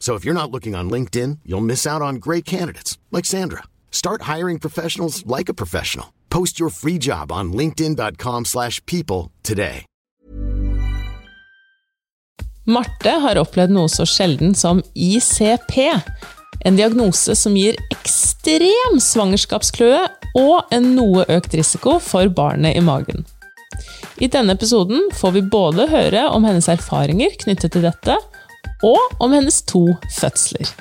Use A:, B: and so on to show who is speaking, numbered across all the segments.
A: So if you're not looking on LinkedIn, you'll miss out on great candidates like Sandra. Start hiring professionals like a professional. Post your free job on linkedin.com/people slash people today.
B: Marte har opplevd noe så sjelden som ICP. En diagnose som gir ekstrem svangerskapskløe og en noe økt risiko for barnet i magen. I denne episoden får vi både høre om hennes erfaringer knyttet til dette, og om hennes to fødsler.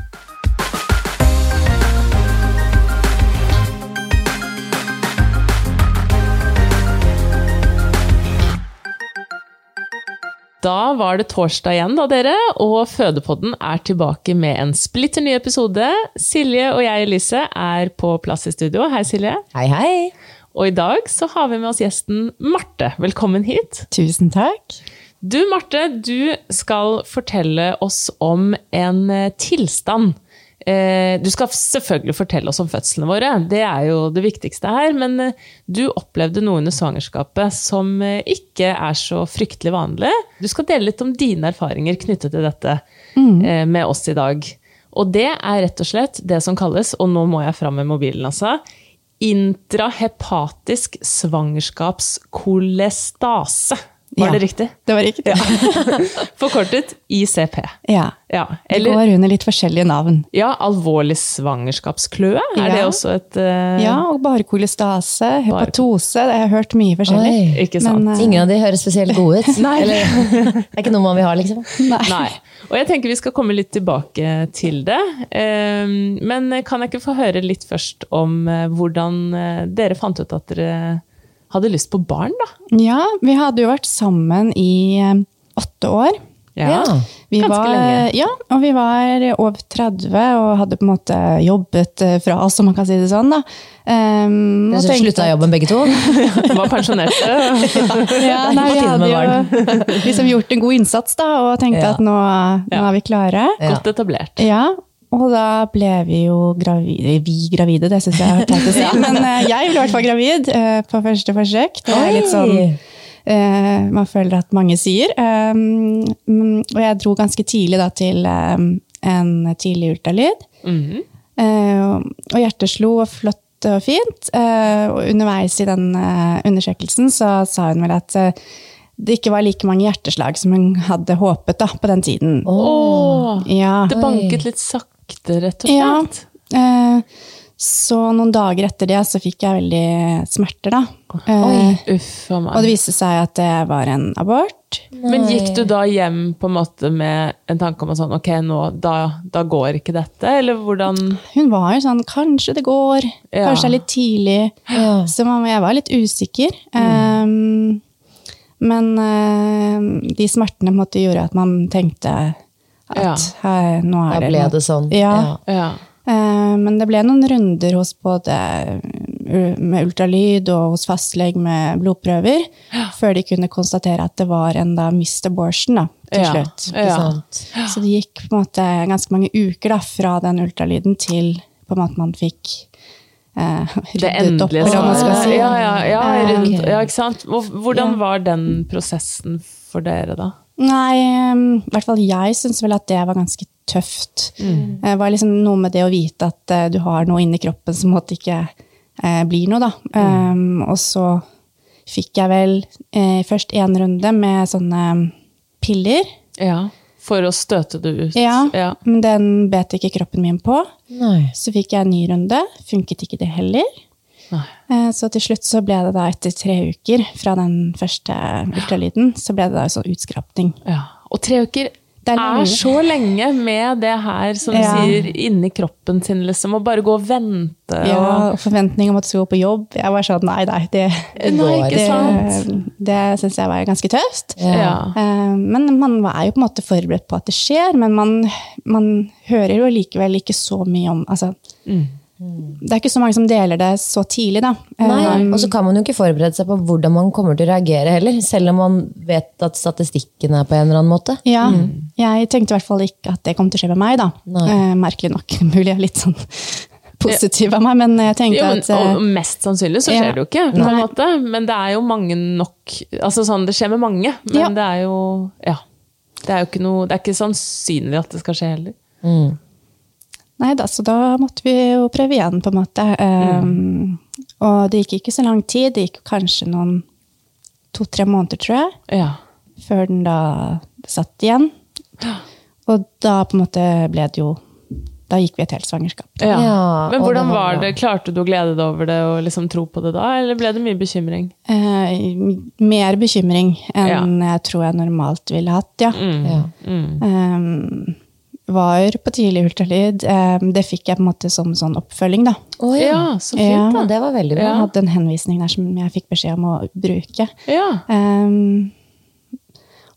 B: Da var det torsdag igjen, da, dere, og Fødepodden er tilbake med en splitter ny episode. Silje og jeg, Elise, er på plass i studio. Hei, Silje.
C: Hei, hei.
B: Og i dag så har vi med oss gjesten Marte. Velkommen hit.
C: Tusen takk.
B: Du, Marte, du skal fortelle oss om en eh, tilstand. Eh, Du skal selvfølgelig fortelle oss om fødslene våre, det er jo det viktigste her. Men eh, du opplevde noe under svangerskapet som eh, ikke er så fryktelig vanlig. Du skal dele litt om dine erfaringer knyttet til dette eh, med oss i dag. Og det er rett og slett det som kalles, og nå må jeg fram med mobilen, altså, intrahepatisk svangerskapskolestase. Var
C: Ja.
B: det riktig?
C: Det var riktig. Ja.
B: Forkortet ICP. Ja,
C: Det
B: eller
C: går under litt forskjellige navn.
B: ja, alvorlig svangerskapskløe. Er
C: Ja.
B: det også et eh,
C: Ja, og barkolestase, hepatose, det har jeg hørt mye forskjellig.
D: Oi.
B: Ikke sant?
C: Men, eh,
D: Ingen av de høres spesielt gode ut. Eller, det er ikke noe man vil ha, liksom.
C: eh,
B: Nei. Og jeg tenker vi skal komme litt tilbake til det. Eh, Men kan jeg ikke få høre litt først om eh, hvordan eh, dere fant ut at dere hadde lyst på barn, da?
C: Ja, vi hadde jo vært sammen i eh, åtte år.
D: Ja.
C: Vi
B: Ganske
C: var,
B: lenge.
C: Ja, og vi var over 30 og hadde på en måte jobbet eh, fra oss, om man kan si det sånn. da. Um,
D: Dere
C: og
D: som
C: tenkte
D: slutta i
C: at-
D: jobben begge to.
B: Var pensjonerte.
C: Ja,
D: På
C: nei, vi
D: tide med
C: hadde jo liksom gjort en god innsats da, og tenkte
D: Ja.
C: at nå, nå
B: Ja.
C: er vi klare.
D: Ja.
B: Godt etablert.
C: Ja, og da ble vi jo gravide. Vi gravide, det syns jeg er teit å si. Men eh, jeg ble i hvert fall gravid eh, på første forsøk. Det er litt sånn
D: Oi.
C: eh, man føler at mange sier. Um, mm, og jeg dro ganske tidlig da til um, en tidlig ultralyd. Eh, og- og hjertet slo og flott og fint. Eh, og underveis i den eh, undersøkelsen så sa hun vel at eh, det ikke var like mange hjerteslag som hun hadde håpet da, på den tiden.
B: Åh,
C: Ja.
B: det banket litt sakte, rett og slett.
C: Ja. Eh, Så noen dager etter det så fikk jeg veldig smerter, da. Eh,
B: Uff a
C: Og det
B: meg.
C: viste seg at det var en abort.
B: Men gikk du da hjem på en måte med en tanke om at sånn, ok, nå, da, da går ikke dette? Eller hvordan
C: Hun var jo sånn 'kanskje det går',
B: Ja.
C: kanskje det er litt tidlig.
D: Ja. Mm.
C: Så man, jeg var litt usikker. Eh, men eh, de smertene på en måte gjorde at man tenkte at
B: Ja.
C: her, nå
D: Da
C: er det
D: ble
C: noe.
D: det sånn.
C: Ja.
B: Ja.
C: Eh, Men det ble noen runder hos både u- med ultralyd og hos fastlege med blodprøver, før de kunne konstatere at det var en da missed abortion da, til
B: Ja,
C: slutt.
B: ja.
D: Ikke sant?
C: Så det gikk på en måte ganske mange uker da, fra den ultralyden til på på en måte man fikk eh,
B: Det
C: ryddet opp,
B: endelige
C: eller hva man skal
B: svaret.
C: si.
B: Ja, ja, ja,
C: Eh,
B: rundt, ja, ikke sant? Hvor- Hvordan
C: Ja.
B: var den prosessen for dere, da?
C: Nei, em, i hvert fall jeg syns vel at det var ganske tøft.
B: Mm.
C: Det var liksom noe med det å vite at eh, du har noe inni kroppen som måtte ikke eh, blir noe, da.
B: Mm.
C: Em, og så fikk jeg vel eh, først én runde med sånne piller.
B: Ja. For å støte det ut?
C: Ja,
B: ja.
C: men den bet ikke kroppen min på.
D: Nei.
C: Så fikk jeg en ny runde. Funket ikke det heller.
B: Nei.
C: Eh, Så til slutt så ble det da etter tre uker fra den første ultralyden, så ble det da sånn utskrapning.
B: Ja. Og tre uker
C: Det er
B: er,
C: lenge.
B: så lenge med det her som
C: Ja.
B: sier inni kroppen sin, liksom. Og bare gå og vente.
C: Ja, og forventning om at du skulle gå på jobb. Jeg var sånn, nei, nei, det,
B: Og, nei,
D: går
B: ikke sant?
C: det, det syns jeg var ganske tøft.
B: Ja.
C: Eh, Men man er jo på en måte forberedt på at det skjer, men man, man hører jo likevel ikke så mye om altså, Det er ikke så mange som deler det så tidlig, da. Eh,
D: Nei, og så kan man jo ikke forberede seg på hvordan man kommer til å reagere heller, selv om man vet at statistikken er på en eller annen måte.
C: Ja, jeg tenkte i hvert fall ikke at det kom til å skje med meg, da.
D: Nei.
C: Eh, merkelig nok. Mulig jeg er litt sånn positiv av meg, men jeg tenkte
B: Jo, men,
C: at eh,
B: og mest sannsynlig så
C: ja.
B: skjer det jo ikke, på en måte. Men det er jo mange nok Altså sånn, det skjer med mange, men
C: Ja.
B: det er jo Ja. Det er jo ikke noe Det er ikke sannsynlig at det skal skje heller.
C: Nei da, så da måtte vi jo prøve igjen, på en måte. Eh, Og det gikk ikke så lang tid. Det gikk kanskje noen to-tre måneder, tror jeg,
B: Ja.
C: før den da satt igjen. Og da på en måte ble det jo Da gikk vi et helt svangerskap.
B: ja.
D: Ja,
B: men
D: og
B: hvordan
D: det var
B: var
D: bra.
B: det? Klarte du å glede deg over det og liksom tro på det da, eller ble det mye bekymring?
C: Eh, mer bekymring enn jeg tror jeg normalt ville hatt, ja.
D: Ja.
C: Um, var på tidlig ultralyd. Um, det fikk jeg på en måte som sånn oppfølging, da.
D: Å, ja.
B: Ja, så fint,
D: Ja,
B: da.
D: det var veldig bra.
C: Jeg hadde en henvisning der som jeg fikk beskjed om å bruke.
B: Ja.
C: Um,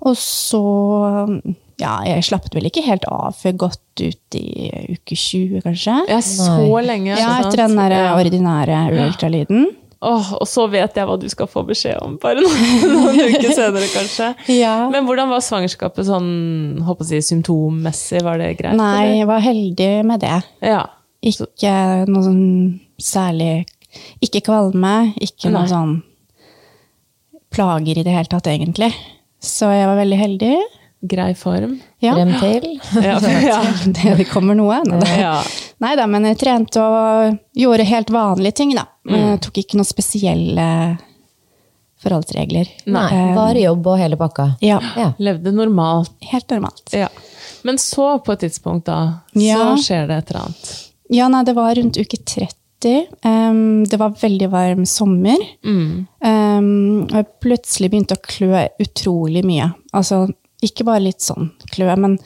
C: og så Ja, jeg slappet vel ikke helt av før godt ut i uke 20, kanskje.
B: Ja, så lenge.
C: Ja,
B: ikke sant?
C: etter den der
B: Ja.
C: ordinære ultralyden.
B: Åh, og så vet jeg hva du skal få beskjed om, bare noen, noen uker senere, kanskje.
C: Ja.
B: Men hvordan var svangerskapet sånn håper jeg å si, symptommessig? Var det greit?
C: Nei,
B: eller?
C: jeg var heldig med det.
B: Ja.
C: Ikke noe sånn særlig Ikke kvalme, ikke noe
B: Nei.
C: sånn plager i det hele tatt, egentlig. Så jeg var veldig heldig.
B: Grei form?
C: Ja.
D: Frem til.
B: Ja. ja.
C: Det, det kommer noe. Nei da.
B: ja.
C: Neida, men jeg trente og gjorde helt vanlige ting, da.
B: Mm.
C: Jeg tok ikke noen spesielle forholdsregler.
D: Nei,
C: Eh,
D: var jobb og hele pakka.
C: Ja,
D: Ja.
B: Levde normalt.
C: helt normalt.
B: Ja. Men så, på et tidspunkt, da, så
C: Ja.
B: skjer det et eller annet.
C: Ja, nei, det var rundt uke 30. Ehm, det var veldig varm sommer.
B: Mm.
C: Ehm, og jeg plutselig begynte å klø utrolig mye. Altså, ikke bare litt sånn klø, men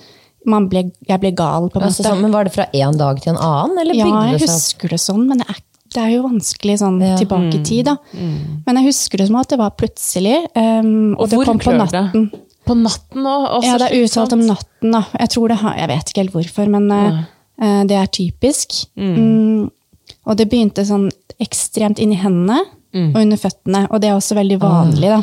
C: man ble, jeg ble gal, på en måte.
D: Altså, sånn, men var det fra en dag til en annen, eller
C: ja,
D: bygde
C: jeg
D: det seg opp?
C: husker det sånn, men det er, det er jo vanskelig sånn tilbake i tid, da. Men jeg husker det som at det var plutselig. ehm, og,
B: Og,
C: det
B: hvor
C: kom på
B: klør det?
C: natten.
B: På natten òg?
C: Ja, det er uttalt om natten, da. Jeg tror det har, jeg vet ikke helt hvorfor, men eh, eh, det er typisk. Mm. Og det begynte sånn ekstremt inni hendene og under føttene, og det er også veldig vanlig, da.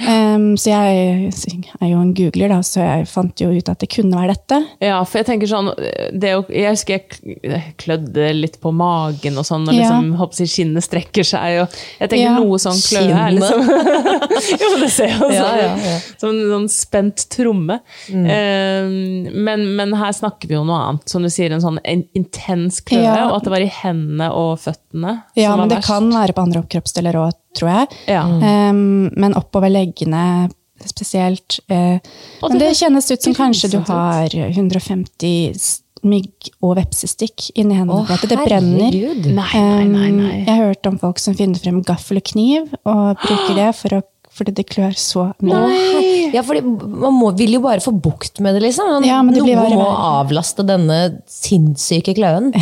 C: Em, så jeg er jo en googler, da, så jeg fant jo ut at det kunne være dette.
B: Ja, for jeg tenker sånn det, å- Jeg husker jeg k- klødde litt på magen og sånn, og
C: Ja.
B: liksom, håper jeg, skinnet strekker seg. Og jeg tenker
C: Ja.
B: noe sånn kløe er liksom Jo, men det ser jo
D: Ja,
B: sånn
D: ja,
B: ut.
D: ja.
B: Som en sånn spent tromme.
C: Mm.
B: Eh, men, men her snakker vi jo noe annet. Som du sier, en sånn en intens kløe,
C: Ja.
B: og at det var i hendene og føttene
C: Ja,
B: som var
C: men det
B: verst.
C: kan Mm. være på andre kroppsdeler òg, tror jeg.
B: Ja.
C: Em, Ehm, men oppover leggene spesielt. eh,
B: Og
C: men
B: det
C: det kjennes ut som kanskje du
B: grusomt ut.
C: har 150 s- mygg- og vepsestikk inni
D: Å,
C: hendene. på en måte. det brenner.
D: herregud.
B: Nei, nei, nei. nei.
C: Em, Jeg har hørt om folk som finner frem gaffel og kniv og bruker det for å, fordi det klør så mye.
D: Ja, fordi Man må, vil jo bare få bukt med det, liksom. Man,
C: Ja, men det blir
D: noen
C: verre og
D: må
C: verre.
D: avlaste denne sinnssyke kløen.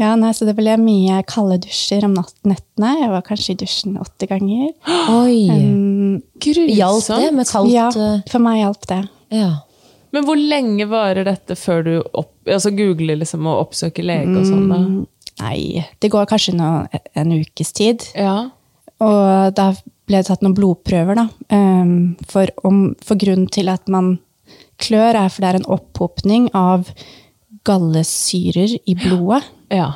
C: Ja, nei, så det ble mye kalde dusjer om natt- nettene. Jeg var kanskje i dusjen åtte ganger.
D: Oi!
C: Mm.
D: Hjalp
B: Grusomt.
D: det med kaldt
C: Ja,
D: eh,
C: for meg hjalp det.
D: ja.
B: Men hvor lenge varer dette før du opp, altså googler liksom og oppsøker lege og sånn? da?
C: Nei, det går kanskje nå e-, en ukes tid.
B: Ja.
C: Og da ble det tatt noen blodprøver, da. ehm, For, om, for grunnen til at man klør, er for det er en opphopning av gallesyrer i blodet.
B: Ja.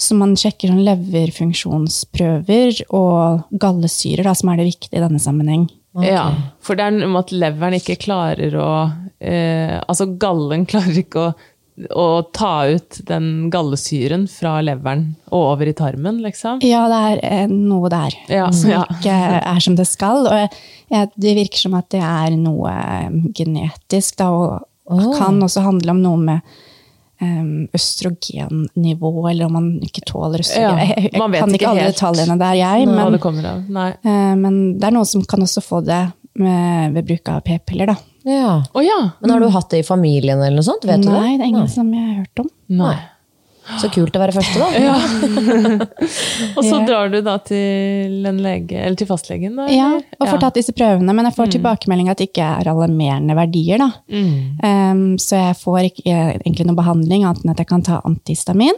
C: Så man sjekker sånn leverfunksjonsprøver og gallesyrer, da, som er det viktige i denne sammenheng.
B: ja. For det er noe med at leveren ikke klarer å eh, Altså, gallen klarer ikke å, å ta ut den gallesyren fra leveren og over i tarmen, liksom.
C: Ja, det er eh, noe der
B: Ja,
D: Mm.
C: som
B: ja.
C: Altså, ikke er som det skal. Og jeg- jeg, det virker som at det er noe eh, genetisk, da, og kan også handle om noe med eh, østrogennivå, eller om man ikke tåler
B: Ja,
C: østrogen. Jeg, jeg,
B: man vet
C: kan ikke,
B: ikke
C: alle
B: helt
C: detaljene der, jeg.
B: Hva
C: Men,
B: det kommer av. Nei.
C: eh, men det er noen som kan også få det med, ved bruk av p-piller, da.
D: Ja.
B: Å ja!
D: Men har du hatt det i familien eller noe sånt? Vet du
C: Mm. Nei,
D: det?
C: det er ingen som jeg har hørt om.
B: Nei.
D: Så kult å være første, da.
B: Og så drar du da til en lege, eller til fastlegen, da?
C: Ja,
B: eller?
C: og får tatt disse prøvene, men jeg får tilbakemelding at det ikke er alarmerende verdier. Da. Ehm, så jeg får ikke eh, egentlig noen behandling, annet enn at jeg kan ta antihistamin.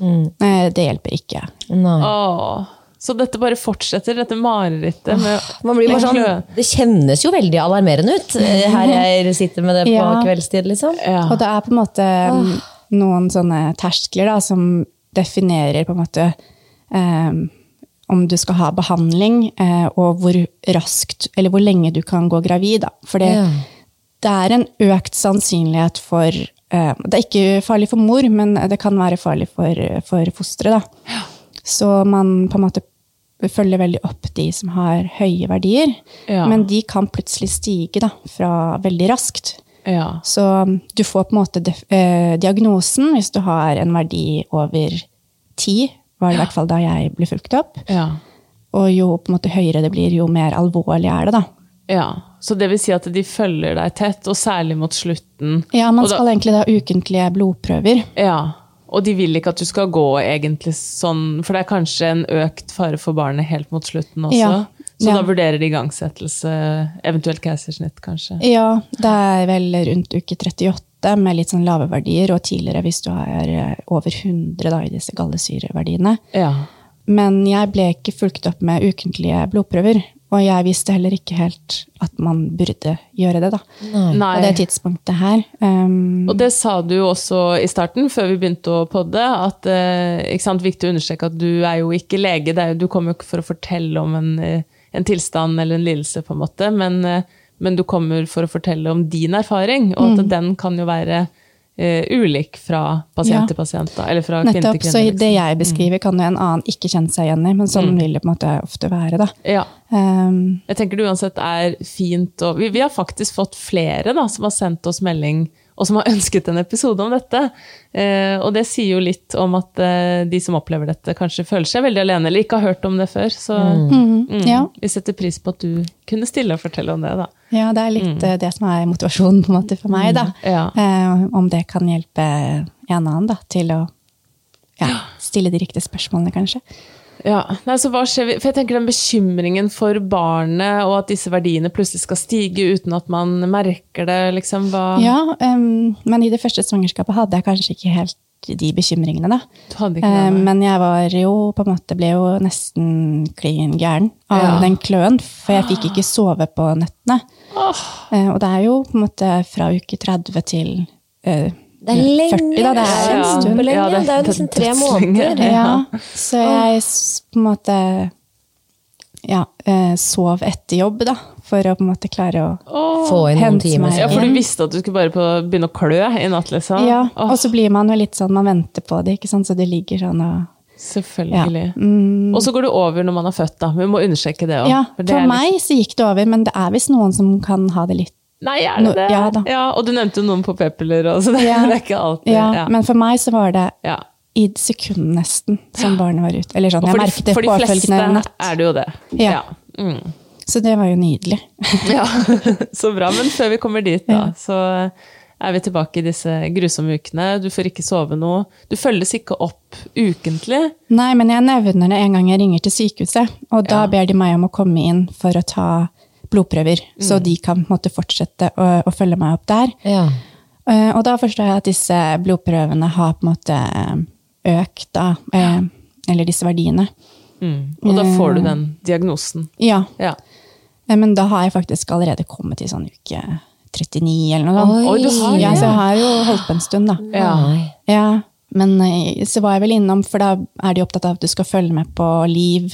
C: Eh, det hjelper ikke.
D: Nei.
B: Åh. Så dette bare fortsetter, dette marerittet med
D: Man blir bare sånn, det kjennes jo veldig alarmerende ut, eh, her jeg sitter med det på
C: Ja.
D: kveldstid, liksom.
B: Ja.
C: Og det er på en måte mm, noen sånne terskler da, som definerer på en måte ehm, om du skal ha behandling, eh, og hvor raskt, eller hvor lenge du kan gå gravid. Da. For det,
D: Ja.
C: det er en økt sannsynlighet for eh, Det er ikke farlig for mor, men det kan være farlig for, for fosteret. da. Så man på en måte følger veldig opp de som har høye verdier.
B: Ja.
C: Men de kan plutselig stige da, fra veldig raskt.
B: ja.
C: Så du får på en måte def- eh, diagnosen hvis du har en verdi over ti, var det i hvert fall da jeg ble fulgt opp.
B: ja.
C: Og jo på en måte høyere det blir, jo mer alvorlig er det, da.
B: ja. Så det vil si at de følger deg tett, og særlig mot slutten.
C: Ja, man
B: Og da-
C: skal egentlig da ha ukentlige blodprøver.
B: Ja. Og de vil ikke at du skal gå egentlig sånn, for det er kanskje en økt fare for barnet helt mot slutten også.
C: Ja.
B: Så
C: Ja.
B: da vurderer de igangsettelse, eventuelt keisersnitt, kanskje.
C: Ja, det er vel rundt uke 38 med litt sånn lave verdier, og tidligere hvis du har eh, over 100 da, i disse gallesyreverdiene.
B: Ja.
C: Men jeg ble ikke fulgt opp med ukentlige blodprøver, og jeg visste heller ikke helt at man burde gjøre det, da.
B: Nei.
C: På det tidspunktet her. Um,
B: Og det sa du jo også i starten, før vi begynte å podde, at eh, ikke sant, viktig å understreke at du er jo ikke lege. Det er jo, du kommer jo ikke for å fortelle om en, eh, en tilstand eller en lidelse, på en måte, men, eh, men du kommer for å fortelle om din erfaring, og
C: Mm.
B: at den kan jo være eh, ulik fra pasient
C: Ja.
B: til pasient, da, eller fra kvinne til
C: Nettopp, så
B: kvinne. liksom.
C: det jeg beskriver kan jo en annen ikke kjenne seg igjen i, men sånn vil det på en måte ofte være, da.
B: Ja.
C: Um,
B: Jeg tenker det uansett er fint. Og vi, vi har faktisk fått flere da, som har sendt oss melding og som har ønsket en episode om dette. Eh, og det sier jo litt om at eh, de som opplever dette, kanskje føler seg veldig alene eller ikke har hørt om det før. Så
C: mm, ja.
B: vi setter pris på at du kunne stille og fortelle om det. da.
C: ja, det er litt eh, det som er motivasjonen på en måte for meg, da.
B: Ja.
C: Eh, om det kan hjelpe en annen da, til å ja, stille de riktige spørsmålene, kanskje.
B: Ja, Nei, så hva skjer? vi- For jeg tenker den bekymringen for barnet, og at disse verdiene plutselig skal stige uten at man merker det. liksom, hva...
C: Ja, um, men i det første svangerskapet hadde jeg kanskje ikke helt de bekymringene, da.
B: Du hadde ikke det,
C: Eh,
B: nei.
C: Men jeg var jo på en måte ble jo nesten klin gæren av
B: Ja. Ah.
C: den kløen, for jeg fikk ikke sove på nettene. Eh, Og det er jo på en måte fra uke 30 til eh,
D: Det er lenge,
C: 40, da. Det er en
B: Ja.
C: stund.
D: kjempelenge.
B: Ja, det
D: det,
B: er
D: er jo
C: liksom
D: nesten tre
B: dødslenge.
D: måneder.
B: Ja.
C: Ja, så jeg s- på en måte ja, eh, sov etter jobb, da, for å på en måte klare å
D: Få inn noen
C: Hent
D: timer.
C: meg.
B: Ja, for du
C: igjen.
B: visste at du skulle bare på, begynne å klø i natt, liksom?
C: Ja,
B: Åh,
C: og så blir man jo litt sånn, man venter på det, ikke sant, så det ligger sånn og
B: selvfølgelig. Og så går det over når man har født, da. Vi må undersøke det òg.
C: Mm. Ja, for meg så gikk det over, men det er visst noen som kan ha det litt
B: Nei, er det
C: Nå-
B: det?
C: ja da.
B: og du nevnte jo noen på p-piller, og så det,
C: Ja.
B: det er ikke alltid
C: Ja,
B: ja.
C: men for meg så var det
B: Ja.
C: i sekund nesten som barnet var ute. Eller sånn,
B: Og
C: jeg
B: for,
C: merket
B: de,
C: det
B: for de fleste
C: påfølgende natt.
B: er det jo det.
C: Ja.
B: Mm.
C: Så det var jo nydelig.
B: ja. Så bra. Men før vi kommer dit, da, så er vi tilbake i disse grusomme ukene. Du får ikke sove noe. Du følges ikke opp ukentlig.
C: Nei, men jeg nevner det en gang jeg ringer til sykehuset, og da ber de meg om å komme inn for å ta blodprøver, så
B: Mm.
C: de kan på en måte fortsette å, å følge meg opp der.
D: Ja.
C: Eh, Og da forstår jeg at disse blodprøvene har på en måte eh, økt, da. eh, Eller disse verdiene.
B: Og da får du den diagnosen.
C: Ja,
B: Ja.
C: Eh, Men da har jeg faktisk allerede kommet i sånn uke 39 eller noe sånt.
D: Oi, du har
B: det,
C: ja,
B: ja.
C: så jeg har jo holdt på en stund, da.
B: Ja.
D: Nei.
C: Ja, Men eh, så var jeg vel innom, for da er de opptatt av at du skal følge med på liv,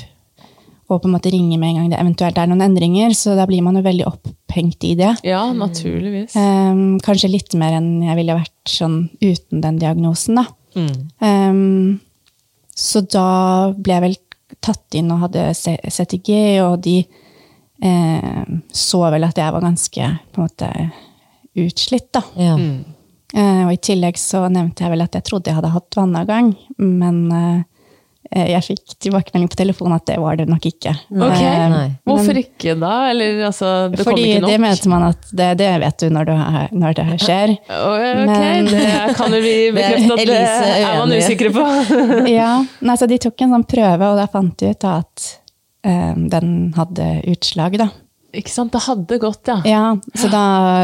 C: og på en måte ringe med en gang det eventuelt er noen endringer, så da blir man jo veldig opphengt i det.
B: Ja, naturligvis.
C: Ehm, kanskje litt mer enn jeg ville vært sånn uten den diagnosen, da.
B: Mm.
C: Ehm, så da ble jeg vel tatt inn og hadde C- CTG, og de eh, så vel at jeg var ganske på en måte utslitt, da.
D: Ja.
C: Eh, og i tillegg så nevnte jeg vel at jeg trodde jeg hadde hatt vannavgang, men eh, jeg fikk tilbakemelding på telefonen at det var det nok ikke.
B: Ok,
C: Eh,
D: nei.
B: Hvorfor ikke da? Eller altså, det kom
C: fordi
B: ikke nok?
C: det mente man at det, det vet du når, du er, når det her skjer.
B: Ok,
C: Men-
B: det kan jo vi bekrefte at det
D: Elise er
B: er man
D: uenig.
B: usikre på.
C: ja, nei, så de tok en sånn prøve, og da fant de ut da at eh, den hadde utslag, da.
B: Ikke sant, det hadde gått, ja.
C: Ja, så da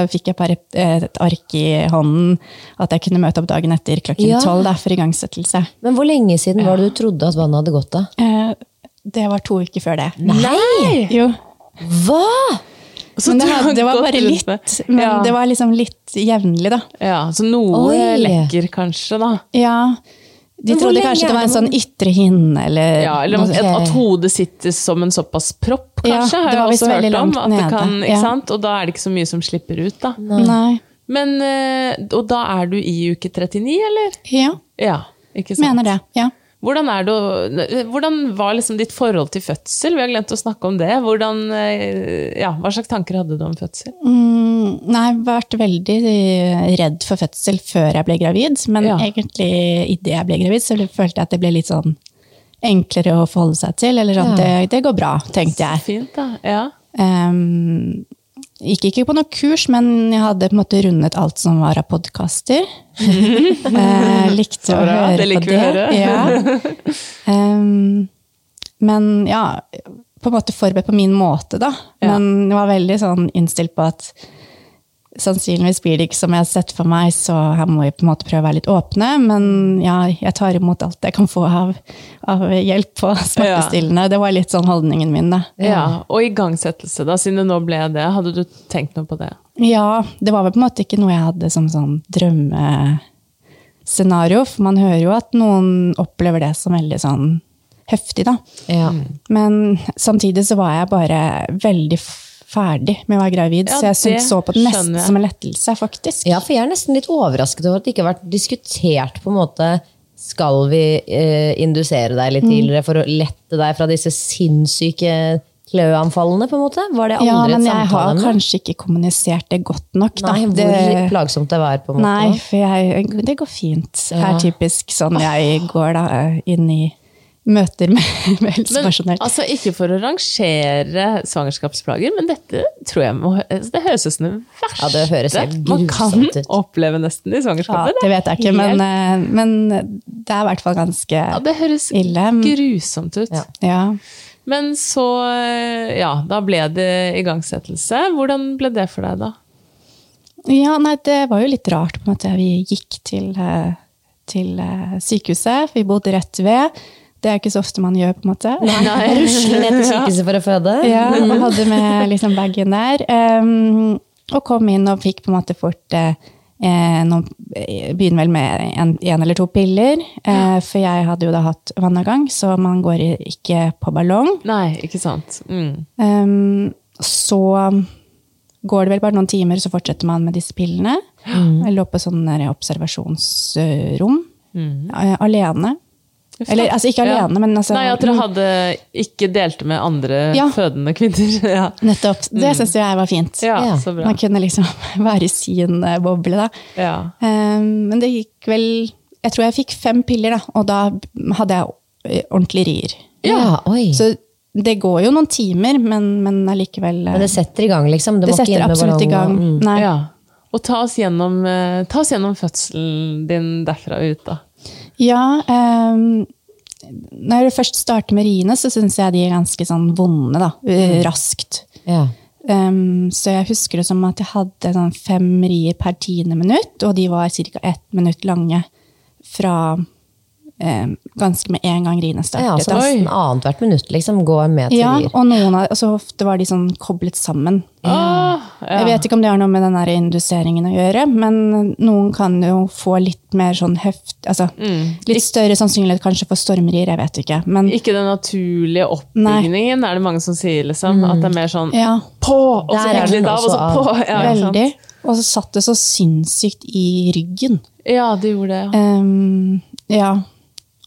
C: fikk jeg bare eh, et ark i hånden, at jeg kunne møte opp dagen etter klokken
D: Ja.
C: tolv da, for igangsettelse.
D: Men hvor lenge siden var det du trodde at vannet hadde gått av?
C: Eh, det var to uker før det.
D: Nei!
C: Jo,
D: Hva?!
B: Så
C: men det,
B: du har
C: hadde, det var
B: gått
C: bare
B: rundt
C: litt,
B: med-
C: men
B: ja.
C: det var liksom litt jevnlig, da.
B: ja, så noe
D: Oi.
B: lekker kanskje, da.
C: Ja,
D: Men
C: de
D: hvor
C: trodde
D: lenge
C: kanskje
D: er
C: det var
D: det
C: en sånn
D: man-
C: ytre hinne, eller,
B: Ja, eller
C: noe
D: Ok.
B: at, at hodet sitter som en såpass propp,
C: Ja,
B: kanskje,
C: det
B: har jeg
C: var visst
B: også
C: veldig
B: hørt om.
C: langt
B: At det
C: nede.
B: kan, ikke
C: Ja.
B: sant? Og da er det ikke så mye som slipper ut, da.
C: Nei.
B: Men, eh, og da er du i uke 39, eller?
C: Ja,
B: Ja, ikke sant?
C: mener det. Ja.
B: Hvordan, er det, å- hvordan var liksom ditt forhold til fødsel? Vi har glemt å snakke om det. Hvordan, eh, ja, hva slags tanker hadde du om fødsel?
C: Mm, nei, jeg vært veldig eh, redd for fødsel før jeg ble gravid, men
B: Ja.
C: egentlig idet jeg ble gravid, så følte jeg at det ble litt sånn enklere å forholde seg til, eller sånn, det, det går bra, tenkte jeg.
B: Fint, da. Ja.
C: Ehm, gikk ikke på noe kurs, men jeg hadde på en måte rundet alt som var av podkaster. Eh, likte
B: Så
C: å
B: bra,
C: høre
B: det liker
C: på
B: vi å
C: det.
B: høre.
C: Ja. Ehm, men ja, på en måte forberedt på min måte, da.
B: Ja.
C: Men jeg var veldig sånn innstilt på at sannsynligvis blir det ikke som jeg har sett for meg, så her må vi på en måte prøve å være litt åpne. Men ja, jeg tar imot alt jeg kan få av, av hjelp og smertestillende. Det var litt sånn holdningen min, da.
B: ja. Og igangsettelse, da, siden det nå ble det. Hadde du tenkt noe på det?
C: Ja, det var vel på en måte ikke noe jeg hadde som sånn drømmescenario. For man hører jo at noen opplever det som veldig sånn heftig, da.
D: Ja.
C: Men samtidig så var jeg bare veldig f- ferdig med å være gravid,
B: Ja,
C: så jeg
B: det
C: syntes så på det
B: skjønner
C: nesten
B: jeg.
C: som en lettelse, faktisk.
D: ja, for jeg er nesten litt overrasket over at det ikke har vært diskutert på en måte Skal vi eh, indusere deg
C: Mm.
D: litt tidligere for å lette deg fra disse sinnssyke kløanfallene, på en måte? Var det aldri
C: Ja, men
D: et
C: jeg har
D: samtaleemne?
C: kanskje ikke kommunisert det godt nok, da.
D: Nei, hvor
C: det,
D: plagsomt det var, på en måte?
C: Nei, for jeg, det går fint. Det er typisk sånn jeg går da, inn i møter med,
B: Men,
C: med helsepersonell.
B: altså, ikke for å rangere svangerskapsplager, men dette tror jeg må, altså, det høres ut som det verste
D: Ja, det høres helt
B: man kan
D: grusomt ut.
B: oppleve nesten i
C: Ja,
B: svangerskapet.
C: det vet jeg ikke, men,
B: helt-
C: eh, men det er i hvert fall ganske
B: ja, det høres
C: ille.
B: grusomt ut.
D: Ja.
C: Ja.
B: Men så, eh, ja, da ble det igangsettelse. Hvordan ble det for deg, da?
C: ja, nei, det var jo litt rart på en måte. Vi gikk til, eh, til eh, sykehuset, for vi bodde rett ved. Det er jo ikke så ofte man gjør, på en måte.
D: Jeg rusler ned til sykehuset for å føde.
C: Ja,
B: Mm.
C: og hadde med liksom bagen der. ehm, og kom inn og fikk på en måte fort eh, eh, noen, eh, Begynner vel med en, en eller to piller, eh, for jeg hadde jo da hatt vannavgang, så man går i- ikke på ballong.
B: Nei, ikke sant? Mm.
C: Ehm, så går det vel bare noen timer, så fortsetter man med disse pillene.
B: Mm.
C: Jeg lå på sånn der observasjonsrom
B: Mm.
C: eh, alene. Eller altså ikke
B: Ja.
C: alene, men altså
B: Nei, at dere hadde ikke delte med andre
C: Ja.
B: fødende kvinner. ja.
C: Nettopp. Det syns jeg var fint.
B: Mm. ja,
D: Ja.
B: så bra.
C: Man kunne liksom være i sin eh, boble, da.
B: Ja.
C: Ehm, men det gikk vel Jeg tror jeg fikk fem piller, da, og da hadde jeg eh, ordentlig rier.
D: Ja, oi.
B: Mm.
C: Så det går jo noen timer, men, men allikevel eh,
D: Men det setter i gang, liksom. Det,
C: det
D: må ikke
C: setter
D: inn med
C: absolutt i gang.
D: ballongen. Mm.
C: Nei.
B: ja. Og ta oss gjennom, eh, ta oss gjennom fødselen din derfra og ut, da.
C: Ja, ehm, når jeg først starter med riene, så syns jeg de er ganske sånn vonde, da. eh, Raskt.
D: Ja.
C: Ehm, så jeg husker det som at jeg hadde sånn fem rier per tiende minutt, og de var ca. ett minutt lange fra eh, ganske med en gang rinestøvler.
D: Ja, så nesten annethvert minutt liksom, går med til
C: Ja,
D: dyr.
C: og noen av, altså ofte var de sånn koblet sammen. Jeg vet ikke om det har noe med den der induseringen å gjøre, men noen kan jo få litt mer sånn heft, altså litt større sannsynlighet kanskje for stormrier, jeg vet ikke. Men
B: Ikke den naturlige oppbygningen, er det mange som sier. liksom. At det er mer sånn
C: Mm. ja,
B: på, og så
D: Der er
B: hyggelig
D: den
B: da, og så
D: også
B: på. Ja, ikke sant?
C: veldig. Og så satt det så sinnssykt i ryggen.
B: ja det gjorde det. ja.
C: Ehm, ja,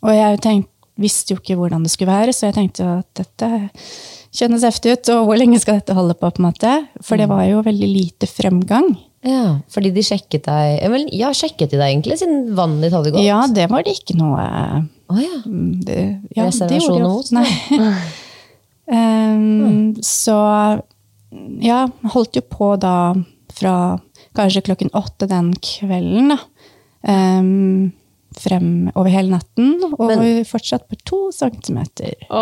C: og jeg tenkte, visste jo ikke hvordan det skulle være, så jeg tenkte jo at dette kjennes heftig ut, og hvor lenge skal dette holde på, på en måte? For det var jo veldig lite fremgang.
D: Ja, fordi de sjekket deg ja, vel, Ja, sjekket de deg egentlig, siden vannet ditt hadde gått?
C: Ja, det var det ikke noe
D: Å ja.
C: mm, det, ja, det
D: Reservasjoner
C: gjorde det jo.
D: mot,
C: Nei. Mm. Ehm, så ja, holdt jo på da fra kanskje klokken åtte den kvelden, da. Ehm, frem over hele natten, og fortsatt på to centimeter.
B: Å,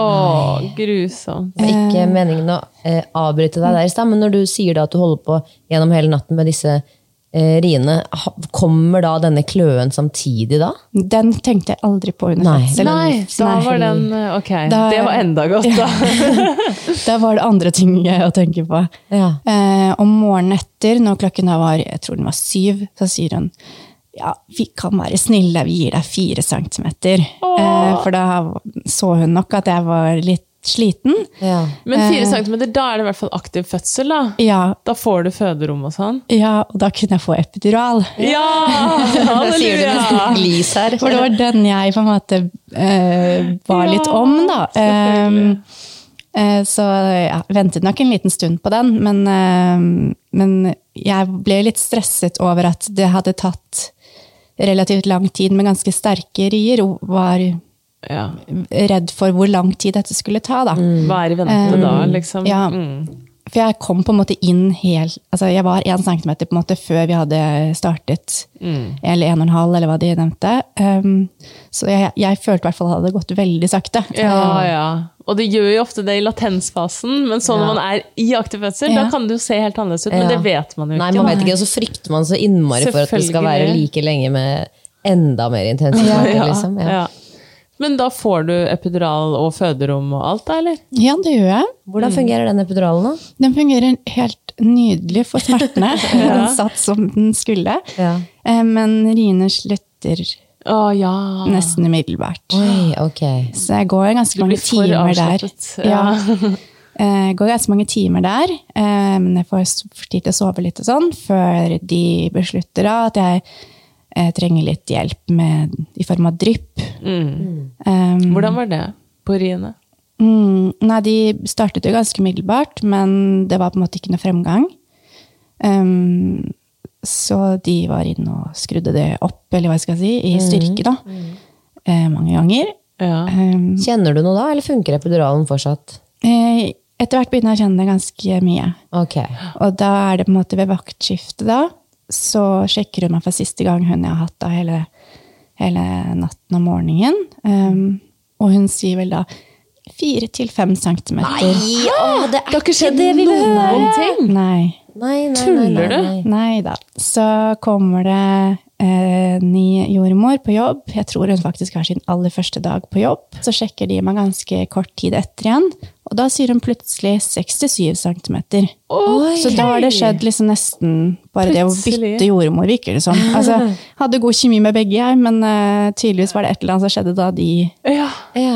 B: grusomt.
D: Det var ikke meningen å eh, avbryte deg der i stad, men når du sier da at du holder på gjennom hele natten med disse eh, riene, ha- kommer da denne kløen samtidig da?
C: Den tenkte jeg aldri på under
D: Nei.
C: fødselen.
B: Nei, da
C: Nei.
B: var den eh, Ok,
C: Da-
B: det var enda godt, da.
C: Da var det andre ting jeg å tenke på.
D: Ja.
C: Eh, om morgenen etter, når klokken da var jeg tror den var syv, så sier hun ja, vi kan være snille, vi gir deg fire centimeter. Eh, for da så hun nok at jeg var litt sliten.
D: Ja.
B: Men
D: Eh.
B: fire centimeter, da er det i hvert fall aktiv fødsel, da.
C: Ja,
B: Da får du føderom og sånn.
C: ja og da kunne jeg få epidural.
B: Ja!
D: Det sier du med
B: Halleluja!
D: stort glis her.
C: For det var den jeg på en måte eh, var litt om, da.
B: selvfølgelig.
C: Eh, eh, så ja, ventet nok en liten stund på den, men, eh, men jeg ble litt stresset over at det hadde tatt relativt lang tid med ganske sterke rier, og var
B: Ja.
C: redd for hvor lang tid dette skulle ta, da.
B: Hva er i
D: Eh,
B: vente da, liksom?
C: Ja. For jeg kom på en måte inn helt altså Jeg var én centimeter på en måte før vi hadde startet.
B: Mm.
C: Eller en og en halv, eller hva de nevnte. Um, så jeg, jeg følte i hvert fall at det hadde gått veldig sakte.
B: Ja, ja. Og det gjør jo ofte det i latensfasen, men sånn når man er i aktiv fødsel,
C: Ja.
B: da kan det jo se helt annerledes ut, men
D: Ja.
B: det vet man jo ikke.
D: Nei, man
B: da.
D: vet ikke, og så frykter man så innmari for at det skal være
B: Selvfølgelig.
D: like lenge med enda mer intensitet, liksom. Ja.
B: Ja. Men da får du epidural og føderom og alt, da, eller?
C: Ja, det gjør jeg.
D: Hvordan fungerer den epiduralen da?
C: Den fungerer helt nydelig for smertene. Den satt som den skulle.
D: Ja.
C: Eh, Men riene slutter
B: Å ja.
C: nesten umiddelbart.
D: Oi, ok.
C: Så jeg går ganske
B: blir
C: mange
B: for
C: timer der.
B: avslappet, ja.
C: Ja. Eh, Jeg går ganske mange timer der, eh, men jeg får s- tid til å sove litt og sånn, før de beslutter da at jeg eh, trenger litt hjelp med, i form av drypp.
B: Mm.
C: Um,
B: Hvordan var det på riene?
C: mm, Nei, de startet jo ganske middelbart, men det var på en måte ikke noe fremgang. Um, så de var inne og skrudde det opp, eller hva jeg skal si, i styrke da, eh, mange ganger.
B: Mm. Ja.
C: Um,
D: Kjenner du noe da, eller funker epiduralen fortsatt?
C: eh, etter hvert begynner jeg å kjenne det ganske mye.
D: Ok.
C: Og da er det på en måte ved vaktskiftet da, så sjekker hun meg for siste gang hun jeg har hatt da hele, hele natten og morgenen. Um, og hun sier vel da fire til fem centimeter.
D: Ja, det er ikke
B: skjedd noen ting.
C: Nei,
D: Nei, nei, nei,
B: Tuller
D: nei,
B: du?
D: nei.
C: nei da. Så kommer det eh, ny jordmor på jobb. Jeg tror hun faktisk har sin aller første dag på jobb. Så sjekker de meg ganske kort tid etter igjen, og da sier hun plutselig 67 centimeter. Så da har det skjedd liksom nesten bare det å
B: Plutselig.
C: bytte jordmor, virker det som. Altså, hadde god kjemi med begge, jeg, men eh, tydeligvis var det et eller annet som skjedde da de
B: Ja.
D: Ja.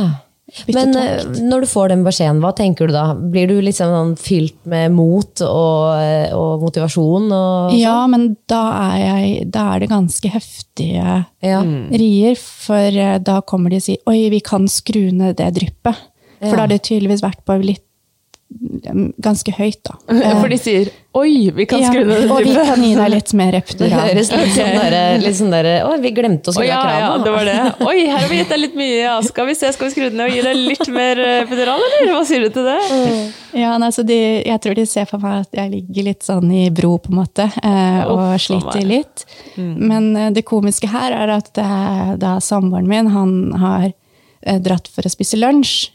D: Men eh, når du får den beskjeden, hva tenker du da? Blir du liksom sånn fylt med mot og, eh, og motivasjon? Og,
C: Ja, men da er, jeg, da er det ganske heftige
D: ja.
B: Mm.
C: rier, for eh, da kommer de og sier 'oi, vi kan skru ned det dryppet'. For da har det tydeligvis vært på litt mm, Ganske høyt, da.
B: For de sier 'oi, vi kan
C: Eh, Ja,
B: skru ned det
C: og vi
B: dypet'.
C: kan gi deg litt mer
D: Det
C: epidural.
D: høres litt sånn der, litt sånn der Å, vi glemte å
B: Å
D: skru
B: ja,
D: av
B: ja,
D: kranen.
B: det var det.
C: altså.
B: Oi, her har vi gitt deg litt mye. Ja. Skal vi se, skal vi skru den ned og gi deg litt mer eh, epidural, eller? Hva sier du til det?
C: Ja, nei, så de, jeg tror de ser for meg at jeg ligger litt sånn i bro, på en måte, eh, og
B: Uff,
C: sliter
B: meg. Mm.
C: litt. Men eh, det komiske her er at eh, da samboeren min, han har eh, dratt for å spise lunsj,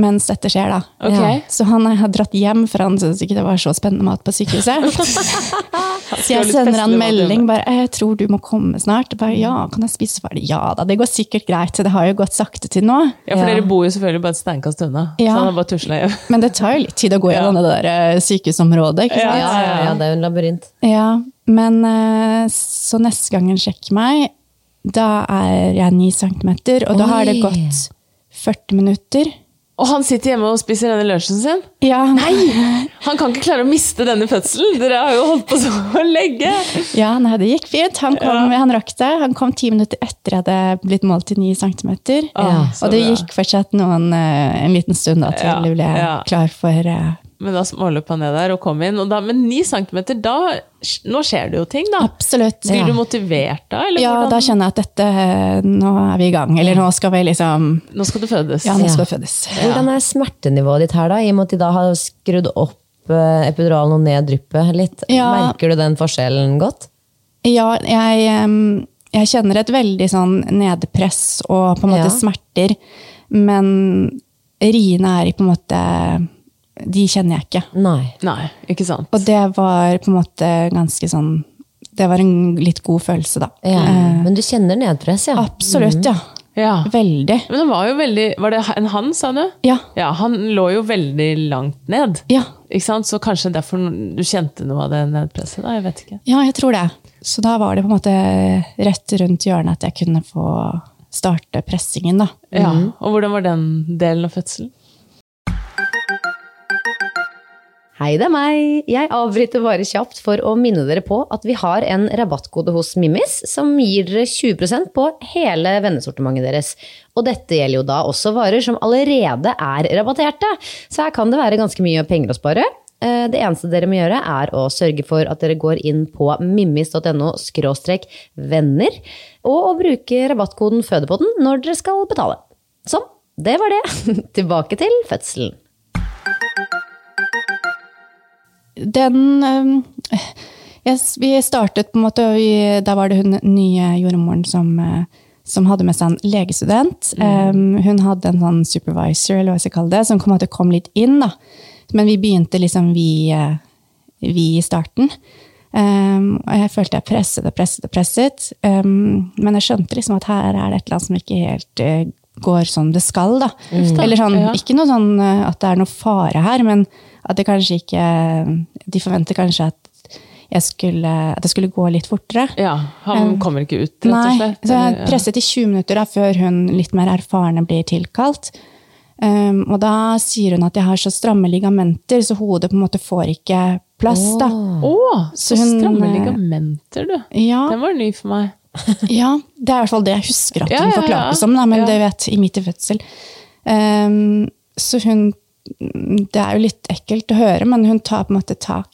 C: mens dette skjer, da.
B: Ok.
C: Ja. Så han har dratt hjem, for han syntes ikke det var så spennende mat på sykehuset. Så jeg sender han melding bare 'Jeg tror du må komme snart'. Jeg Bare, 'Ja, kan jeg spise ferdig?' 'Ja da, det går sikkert greit'. Det har jo gått sakte til nå.
B: Ja, for
D: Ja.
B: dere bor jo selvfølgelig bare et steinkast unna.
C: Ja.
B: Så han har bare tusla hjem.
C: Men det tar jo litt tid å gå gjennom det der eh, sykehusområdet. ikke
B: Ja.
C: sant?
D: Ja, ja, ja, det er jo en labyrint.
C: Ja, men eh, så neste gang han sjekker meg, da er jeg 9 cm, og da har
D: Oi.
C: det gått 40 minutter.
B: Og han sitter hjemme og spiser denne lunsjen sin.
C: Ja,
B: Han kan ikke klare å miste denne fødselen! Dere har jo holdt på så lenge!
C: ja nei, det gikk fint. Han, kom, han rakk det. Han kom 10 minutter etter jeg hadde blitt målt til 9 cm.
B: Ah, så
C: og det
B: bra.
C: gikk fortsatt noen, eh, en liten stund da, til
B: Ja,
C: jeg ble
B: ja.
C: klar for eh,
B: Men da småløp han ned der og kom inn. Og da, men ni centimeter, da Nå skjer det jo ting, da.
C: Absolutt.
B: Blir
C: Ja.
B: du motivert da? Eller
C: Ja, da
B: hvordan?
C: kjenner jeg at dette, eh, nå er vi i gang. Eller nå skal vi liksom
B: Nå skal du fødes.
C: Ja, nå
D: Ja.
C: skal vi fødes.
D: Hvordan er smertenivået ditt her, da? I og med at de da har skrudd opp eh, epiduralen og ned dryppet litt.
C: Ja.
D: Merker du den forskjellen godt?
C: Ja, jeg, em, jeg kjenner et veldig sånn nedpress og på en måte
D: Ja.
C: smerter. Men riene er i på en måte De kjenner jeg ikke.
D: Nei.
B: Nei, ikke sant.
C: Og det var på en måte ganske sånn Det var en litt god følelse, da.
D: Ja.
C: Eh,
D: Men du kjenner nedpress, ja?
C: absolutt, ja.
B: Mm. Ja.
C: Veldig.
B: Men han var jo veldig Var det en han, sa du?
C: Ja.
B: Ja, han lå jo veldig langt ned.
C: Ja.
B: Ikke sant? Så kanskje derfor du kjente noe av det nedpresset? da, Jeg vet ikke.
C: ja, jeg tror det. Så da var det på en måte rett rundt hjørnet at jeg kunne få starte pressingen, da.
B: Ja, Og hvordan var den delen av fødselen?
D: Hei, det er meg. Jeg avbryter bare kjapt for å minne dere på at vi har en rabattkode hos Mimmis som gir dere 20 på hele vennesortimentet deres. Og dette gjelder jo da også varer som allerede er rabatterte, så her kan det være ganske mye penger å spare. Eh, Det eneste dere må gjøre, er å sørge for at dere går inn på mimmis.no venner, og å bruke rabattkoden Fødepodden når dere skal betale. Sånn, det var det. Tilbake til fødselen.
C: den øhm, jeg, s- Vi startet på en måte og vi, Da var det hun nye jordmoren som, øh, som hadde med seg en legestudent.
B: Mm.
C: Øhm, hun hadde en sånn supervisor, eller hva jeg skal kalle det, som på en måte kom litt inn. da. Men vi begynte liksom vi, øh, vi i starten. Øhm, og jeg følte jeg presset og presset og presset. Øhm, men jeg skjønte liksom at her er det et eller annet som ikke helt øh, går som det skal. da. Eller sånn,
B: Mm. Ja.
C: ikke noe sånn eh, at det er noe fare her, men at det kanskje ikke De forventer kanskje at jeg skulle, at det skulle gå litt fortere.
B: Ja, Han kommer ikke ut, rett og
C: Nei,
B: slett?
C: så jeg
B: eller-
C: presset i 20 minutter da, før hun litt mer erfarne blir tilkalt. Um, og da sier hun at jeg har så stramme ligamenter, så hodet på en måte får ikke plass. da.
B: Å, så,
C: Så hun,
B: stramme
C: eh,
B: ligamenter, du.
C: Ja,
B: Den var ny for meg.
C: ja, det er i hvert fall det jeg husker at
B: Ja,
C: hun
B: ja, ja.
C: forklarte som, da, men
B: Ja.
C: det vet i mitt fødsel. Ehm, så hun Det er jo litt ekkelt å høre, men hun tar på en måte tak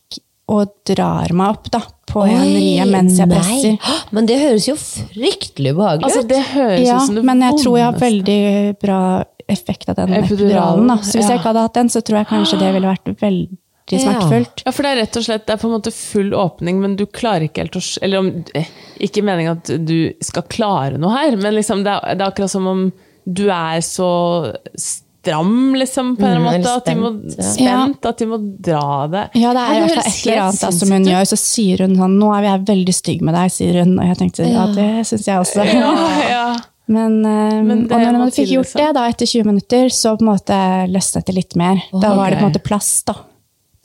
C: og drar meg opp da, på en rie mens jeg presser.
D: Nei. Men det høres jo fryktelig ubehagelig
B: Altså,
D: ut.
B: det høres
C: Ja,
B: ut som det
C: men jeg tror jeg har
B: vondeste.
C: veldig bra effekt av den
B: Epiduralen,
C: epiduralen. da. Så hvis
B: ja.
C: jeg ikke hadde hatt den, så tror jeg kanskje det ville vært veldig
D: Ja.
C: smertefullt.
B: Ja, for det er rett og slett det er på en måte full åpning, men du klarer ikke helt å sk- Eller om, eh, ikke meningen at du skal klare noe her, men liksom det, er, det er akkurat som om du er så stram, liksom, på en eller
D: Mm,
B: annen
D: eller
B: måte. At de må,
D: spent, ja.
B: spent, at de må dra det.
C: Ja, det er i hvert fall
B: høres
C: et eller
B: helt
C: annet da, som
B: sinnssykt
C: hun
B: ut.
C: gjør. Så sier hun sånn 'Nå er jeg veldig stygg med deg', sier hun. Og jeg tenkte ja, det syns jeg også.
B: Ja, ja.
C: Men, eh,
B: Men
C: og
B: det
C: når
B: må
C: man fikk
B: til,
C: gjort
B: liksom.
C: det da, etter 20 minutter, så på en måte løsnet det litt mer. da var det på en måte plass, da.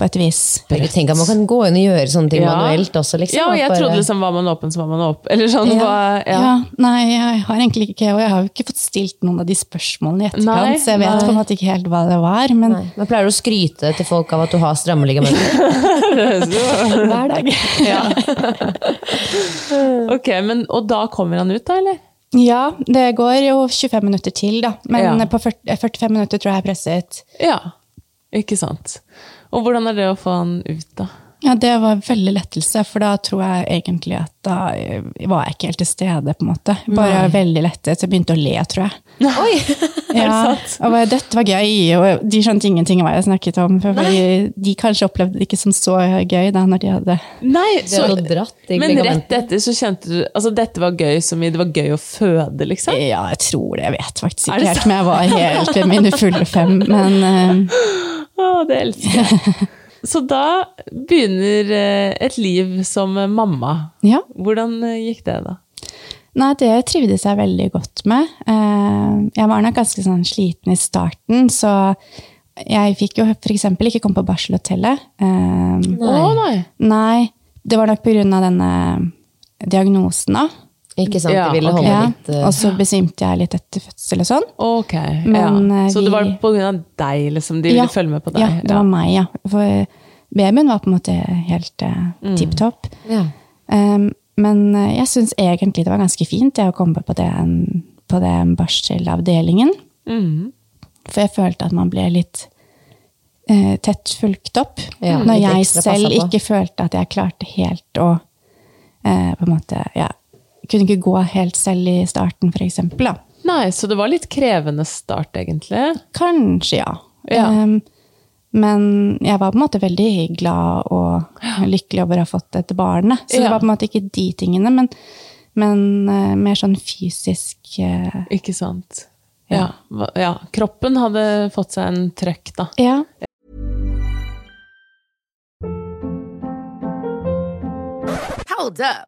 C: På et vis.
D: Herregud, Tenk at man kan gå inn og gjøre sånne ting manuelt også, liksom.
B: Ja, og jeg
D: At bare-
B: trodde liksom var man åpen, så var man åpen. Eller sånn, ja. ja.
C: Ja, nei, jeg har egentlig ikke Og jeg har jo ikke fått stilt noen av de spørsmålene i etterkant,
B: Nei,
C: så jeg vet på en måte ikke helt hva det var, men
D: Nei. Men pleier du å skryte til folk av at du har stramme ligamenter?
C: hver dag.
B: Ok, men, Og da kommer han ut, da, eller?
C: Ja, det går jo 25 minutter til, da. Men
B: Ja.
C: på 40, eh, 45 minutter tror jeg jeg er presset.
B: Ja. Ikke sant. Og hvordan er det å få han ut, da?
C: Ja, det var en veldig lettelse, for da tror jeg egentlig at da eh, var jeg ikke helt til stede, på en måte. Bare veldig lettet. Jeg begynte å le, tror jeg.
D: Oi!
C: Ja, og bare, dette var gøy, og de skjønte ingenting av hva jeg snakket om. For fordi de kanskje opplevde det ikke som så gøy da når de hadde
B: Nei,
D: Det
B: så,
D: var dratt i
B: men rett
D: ligamentet.
B: etter så kjente du Altså, dette var gøy som i det var gøy å føde, liksom.
C: Ja, jeg tror det, jeg vet faktisk
B: Er det
C: ikke helt om jeg var helt ved mine fulle fem, men eh,
B: Å, det elsker jeg. Så da begynner eh, et liv som eh, mamma.
C: ja.
B: Hvordan eh, gikk det, da?
C: Nei, det trivdes jeg veldig godt med. Eh, Jeg var nok ganske sånn sliten i starten, så jeg fikk jo f.eks. ikke komme på barselhotellet. Eh,
B: Å nei!
C: Nei, det var nok pga. denne diagnosen, da.
D: Ikke sant,
B: Ja, Altså,
D: de ville
B: ok.
D: holde
C: Ja,
D: litt eh,
C: og så besvimte jeg litt etter fødsel og sånn.
B: Ok,
C: Men,
B: ja.
C: eh,
B: Så det var
C: vi-
B: på grunn av deg, liksom? De ville følge med på deg?
C: Ja, det var meg, ja. For babyen var på en måte helt uh, tipp topp.
D: ja.
C: Um, men eh, jeg syns egentlig det var ganske fint jeg, å komme på den, på den barselavdelingen.
B: Mhm.
C: For jeg følte at man ble litt eh, tett fulgt opp.
D: Ja,
C: når
D: litt
C: jeg
D: ekstra
C: selv
D: passet på.
C: ikke følte at jeg klarte helt å eh, på en måte, ja, Kunne ikke gå helt selv i starten, for eksempel. Da.
B: Nei, så det var litt krevende start, egentlig.
C: Kanskje, ja.
B: Ja.
C: Ehm, men jeg var på en måte veldig glad og lykkelig over å ha fått dette barnet. Så
B: Ja.
C: det var på en måte ikke de tingene, men, men eh, mer sånn fysisk eh,
B: Ikke sant? Ja. hva- ja. Kroppen hadde fått seg en trøkk, da.
C: Ja.
E: Hold up.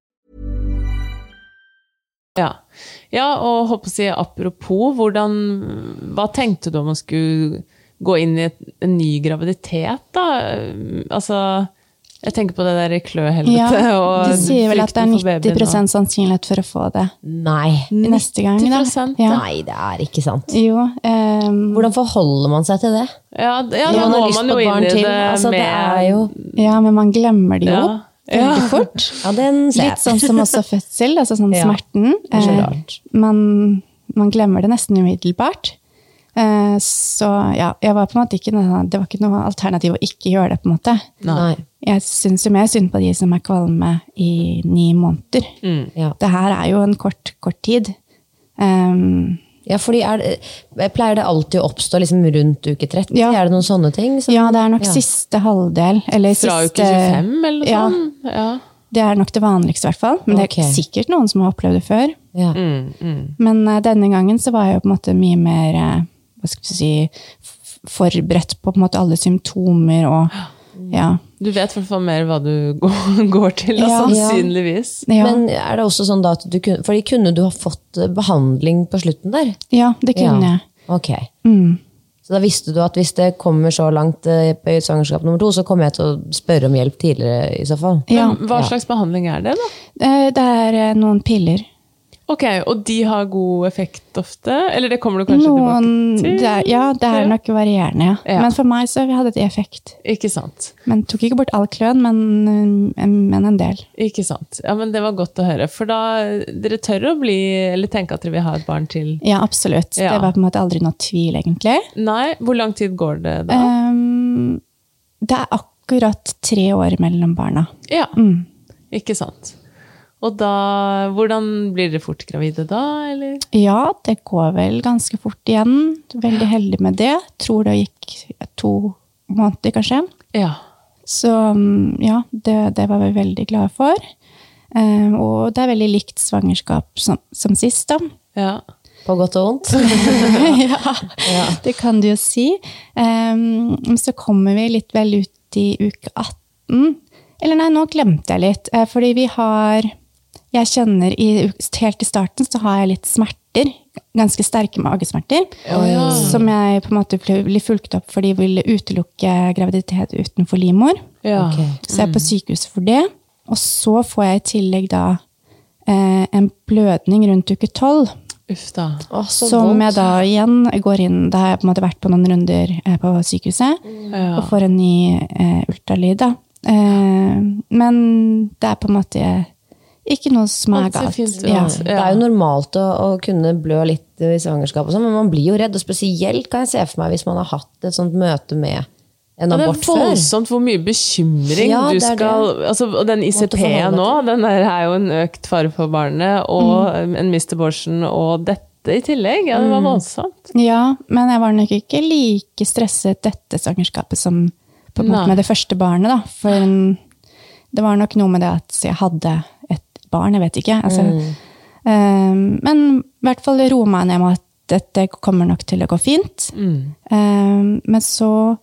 B: Ja. ja, og håper å si apropos, hvordan, hva tenkte du om å skulle gå inn i et, en ny graviditet, da? Altså, jeg tenker på det der
C: ja.
B: kløhelvetet og
C: De sier vel at det
B: frykten for
C: er
B: babyen og-
C: 90 sannsynlighet for å få det
D: Nei.
C: neste gang. Da.
B: 90%,
C: Ja.
D: Nei, det er ikke sant.
C: Jo, ehm,
D: Hvordan forholder man seg til det?
B: Ja, d- ja
D: Når
B: da
D: man har
B: går
D: lyst
B: man
D: på
B: jo
D: et
B: inn
D: barn
B: i det
D: til. Altså,
B: med
D: det er jo
C: ja, men man glemmer det jo.
B: ja. Ja.
C: Veldig fort.
D: Ja, den ser
C: Litt
D: jeg.
C: sånn som også fødsel, altså sånn
D: Ja.
C: smerten.
D: er så
C: Eh,
D: rart.
C: man, man glemmer det nesten umiddelbart. Eh, så ja, jeg var på en måte ikke noe, sånn- det var ikke noe alternativ å ikke gjøre det, på en måte.
D: Nei.
C: Jeg syns jo mer synd på de som er kvalme i ni måneder.
D: Mm, Ja.
C: Det her er jo en kort, kort tid. Ehm,
D: Ja, fordi er det, Pleier det alltid å oppstå liksom rundt uke 30?
C: Ja.
D: Er det noen sånne ting? som-
C: ja, det er nok
D: Ja.
C: siste halvdel. Eller
B: Fra
C: siste,
B: uke 25 eller noe
C: Ja.
B: sånt? Ja.
C: Det er nok det vanligste, i hvert fall. Men
D: Ok.
C: det er sikkert noen som har opplevd det før.
B: Mm.
D: Ja.
C: Men eh, denne gangen så var jeg jo på en måte mye mer eh, hva skal vi si, f- forberedt på, på en måte alle symptomer og ja.
B: Du vet i hvert fall mer hva du går, går til, da,
C: Ja.
B: sannsynligvis.
C: Ja,
D: Men er det også sånn da at du kunne Fordi kunne du ha fått eh, behandling på slutten der?
C: ja det kunne jeg. Mm.
D: Ok. Så da visste du at hvis det kommer så langt eh, i svangerskap nummer to, så kommer jeg til å spørre om hjelp tidligere i så fall?
C: Ja.
B: Men hva slags behandling er det, da?
C: Eh, Det er eh, noen piller.
B: Ok, Og de har god effekt ofte? Eller det kommer du kanskje
C: Noen,
B: tilbake til?
C: det er, ja, det er nok varierende, ja.
B: Ja.
C: Men for meg så hadde det effekt.
B: Ikke sant.
C: Men tok ikke bort all kløen, men, eh, men en del.
B: Ikke sant. Ja, men Det var godt å høre. For da dere tør å bli, eller tenke at dere vil ha et barn til.
C: Ja, absolutt.
B: Ja.
C: Det var på en måte aldri noe tvil, egentlig.
B: Nei, hvor lang tid går det
D: Eh,
B: da?
C: Ehm, det er akkurat tre år mellom barna.
B: Ja,
D: mm.
B: ikke sant. Og da Hvordan blir dere fort gravide da, eller?
C: Ja, det går vel ganske fort igjen. Veldig heldig med det. Tror det gikk to måneder, kanskje.
B: Ja.
C: Så mm, ja, det, det var vi veldig glade for. Eh, og det er veldig likt svangerskap som, som sist, da.
B: Ja.
D: På godt og vondt.
C: ja, det kan du jo si. Ehm, Men så kommer vi litt vel ut i uke 18. Eller nei, nå glemte jeg litt. eh, Fordi vi har Jeg kjenner i, u- Helt i starten så har jeg litt smerter. Ganske sterke magesmerter. Som
B: Mm.
C: jeg på en måte ble, ble fulgt opp fordi vi ville utelukke graviditet utenfor livmor.
B: ja.
C: Så jeg er på
B: Mm.
C: sykehuset for det. Og så får jeg i tillegg da eh, en blødning rundt uke tolv.
B: Uff da.
C: Som jeg da igjen går inn Da har jeg på en måte vært på noen runder eh, på sykehuset og får en ny eh, ultralyd. da. Eh, men det er på en måte ikke noe som er
B: Alt ser
C: galt.
B: fint ut.
C: Ja.
D: Det er jo normalt å, å kunne blø litt i svangerskap, og sånn, men man blir jo redd. Og spesielt kan jeg se for meg hvis man har hatt et sånt møte med en
B: Ja, det
D: abort
B: er
D: før.
B: voldsomt hvor mye bekymring
D: Ja,
B: du
D: det er det.
B: skal altså, Og den ICP-en
D: forholde
B: nå, den der er jo en økt fare for barnet, og
D: Mm.
B: en missed abortion, og dette i tillegg. Ja, det var voldsomt.
C: ja, men jeg var nok ikke like stresset dette svangerskapet som på en
B: Nei.
C: måte med det første barnet. da. For en, det var nok noe med det at jeg hadde et barn, jeg vet ikke. Altså, eh, men i hvert fall roe meg ned med at dette kommer nok til å gå fint. Eh, men så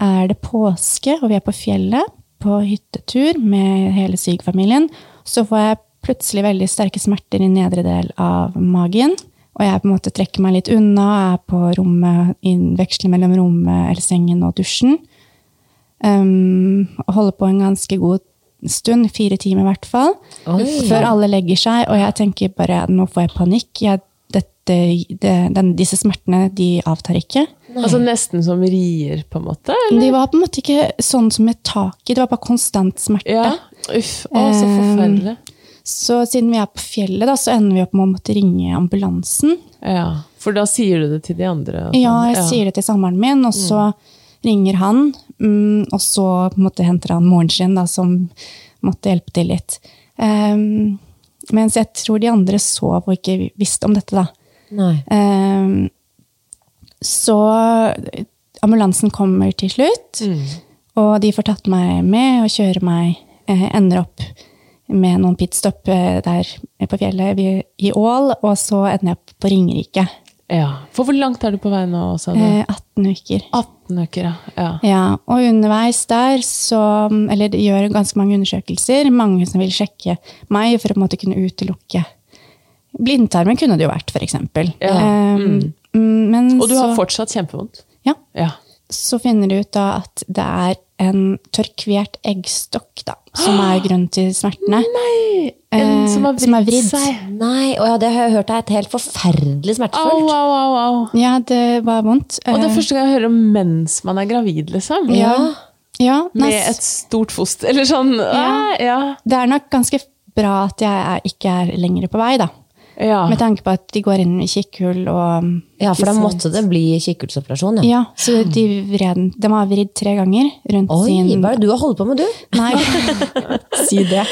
C: er det påske, og vi er på fjellet på hyttetur med hele sygefamilien. Så får jeg plutselig veldig sterke smerter i nedre del av magen. Og jeg på en måte trekker meg litt unna, er på rommet, inn- veksler mellom rommet eller sengen og dusjen. Um, og holder på en ganske god stund, fire timer i hvert fall, før alle legger seg. Og jeg tenker bare nå får jeg panikk. Jeg, dette, det, den, disse smertene de avtar ikke.
B: Altså nesten som rier, på en måte. Eller?
C: De var på en måte ikke sånn som et tak i, det var bare konstant smerte.
B: Ja. Uff, å, så forferdelig.
C: Så siden vi er på fjellet, da, så ender vi opp med å måtte ringe ambulansen.
B: Ja. For da sier du det til de andre? og sånn.
C: Ja, jeg sier det til samboeren min, og så ringer han. mm, Og så på en måte henter han moren sin, da, som måtte hjelpe til litt. Ehm, mens jeg tror de andre sov og ikke visste om dette, da.
D: Nei.
C: Ehm, så ambulansen kommer til slutt, og de får tatt meg med og kjører meg. Eh, ender opp med noen pitstop eh, der på fjellet vi- i Ål, og så ender jeg opp på Ringerike.
B: Ja. For hvor langt er du på vei nå, sa du?
C: Eh, 18 uker.
B: 18 uker, ja. ja.
C: Ja, og underveis der så Eller de gjør ganske mange undersøkelser. Mange som vil sjekke meg for å på en måte kunne utelukke Blindtarmen kunne det jo vært, f.eks.
B: Ja, Mm.
C: Men
B: Og du har
C: så,
B: fortsatt kjempevondt?
C: ja,
B: Ja.
C: så finner de ut da at det er en tørkvert eggstokk da, som
B: Ah!
C: er grunnen til smertene.
B: En
C: Eh,
B: som har
C: som har
B: vridd
C: vridd.
B: seg?
D: Nei, og ja, det har jeg hørt er et helt forferdelig
B: Au, au,
D: smertefullt.
B: au, au.
C: Ja, det var vondt.
B: Og det
C: Eh,
B: er første gang jeg hører om mens man er gravid, liksom.
C: ja, ja, nei,
B: Med et stort foster, eller sånn. Ja.
C: Ja.
B: Ja.
C: Det er nok ganske bra at jeg er, ikke er lenger på vei, da.
B: ja.
C: Med tanke på at de går inn i kikkhull og
D: Ja, for da måtte det bli kikkhullsoperasjon. Ja.
C: Ja, så de vred den. De har vridd tre ganger rundt
D: Oi,
C: sin
D: hva er det du har holdt på med, du?
C: Nei, si det. Eh.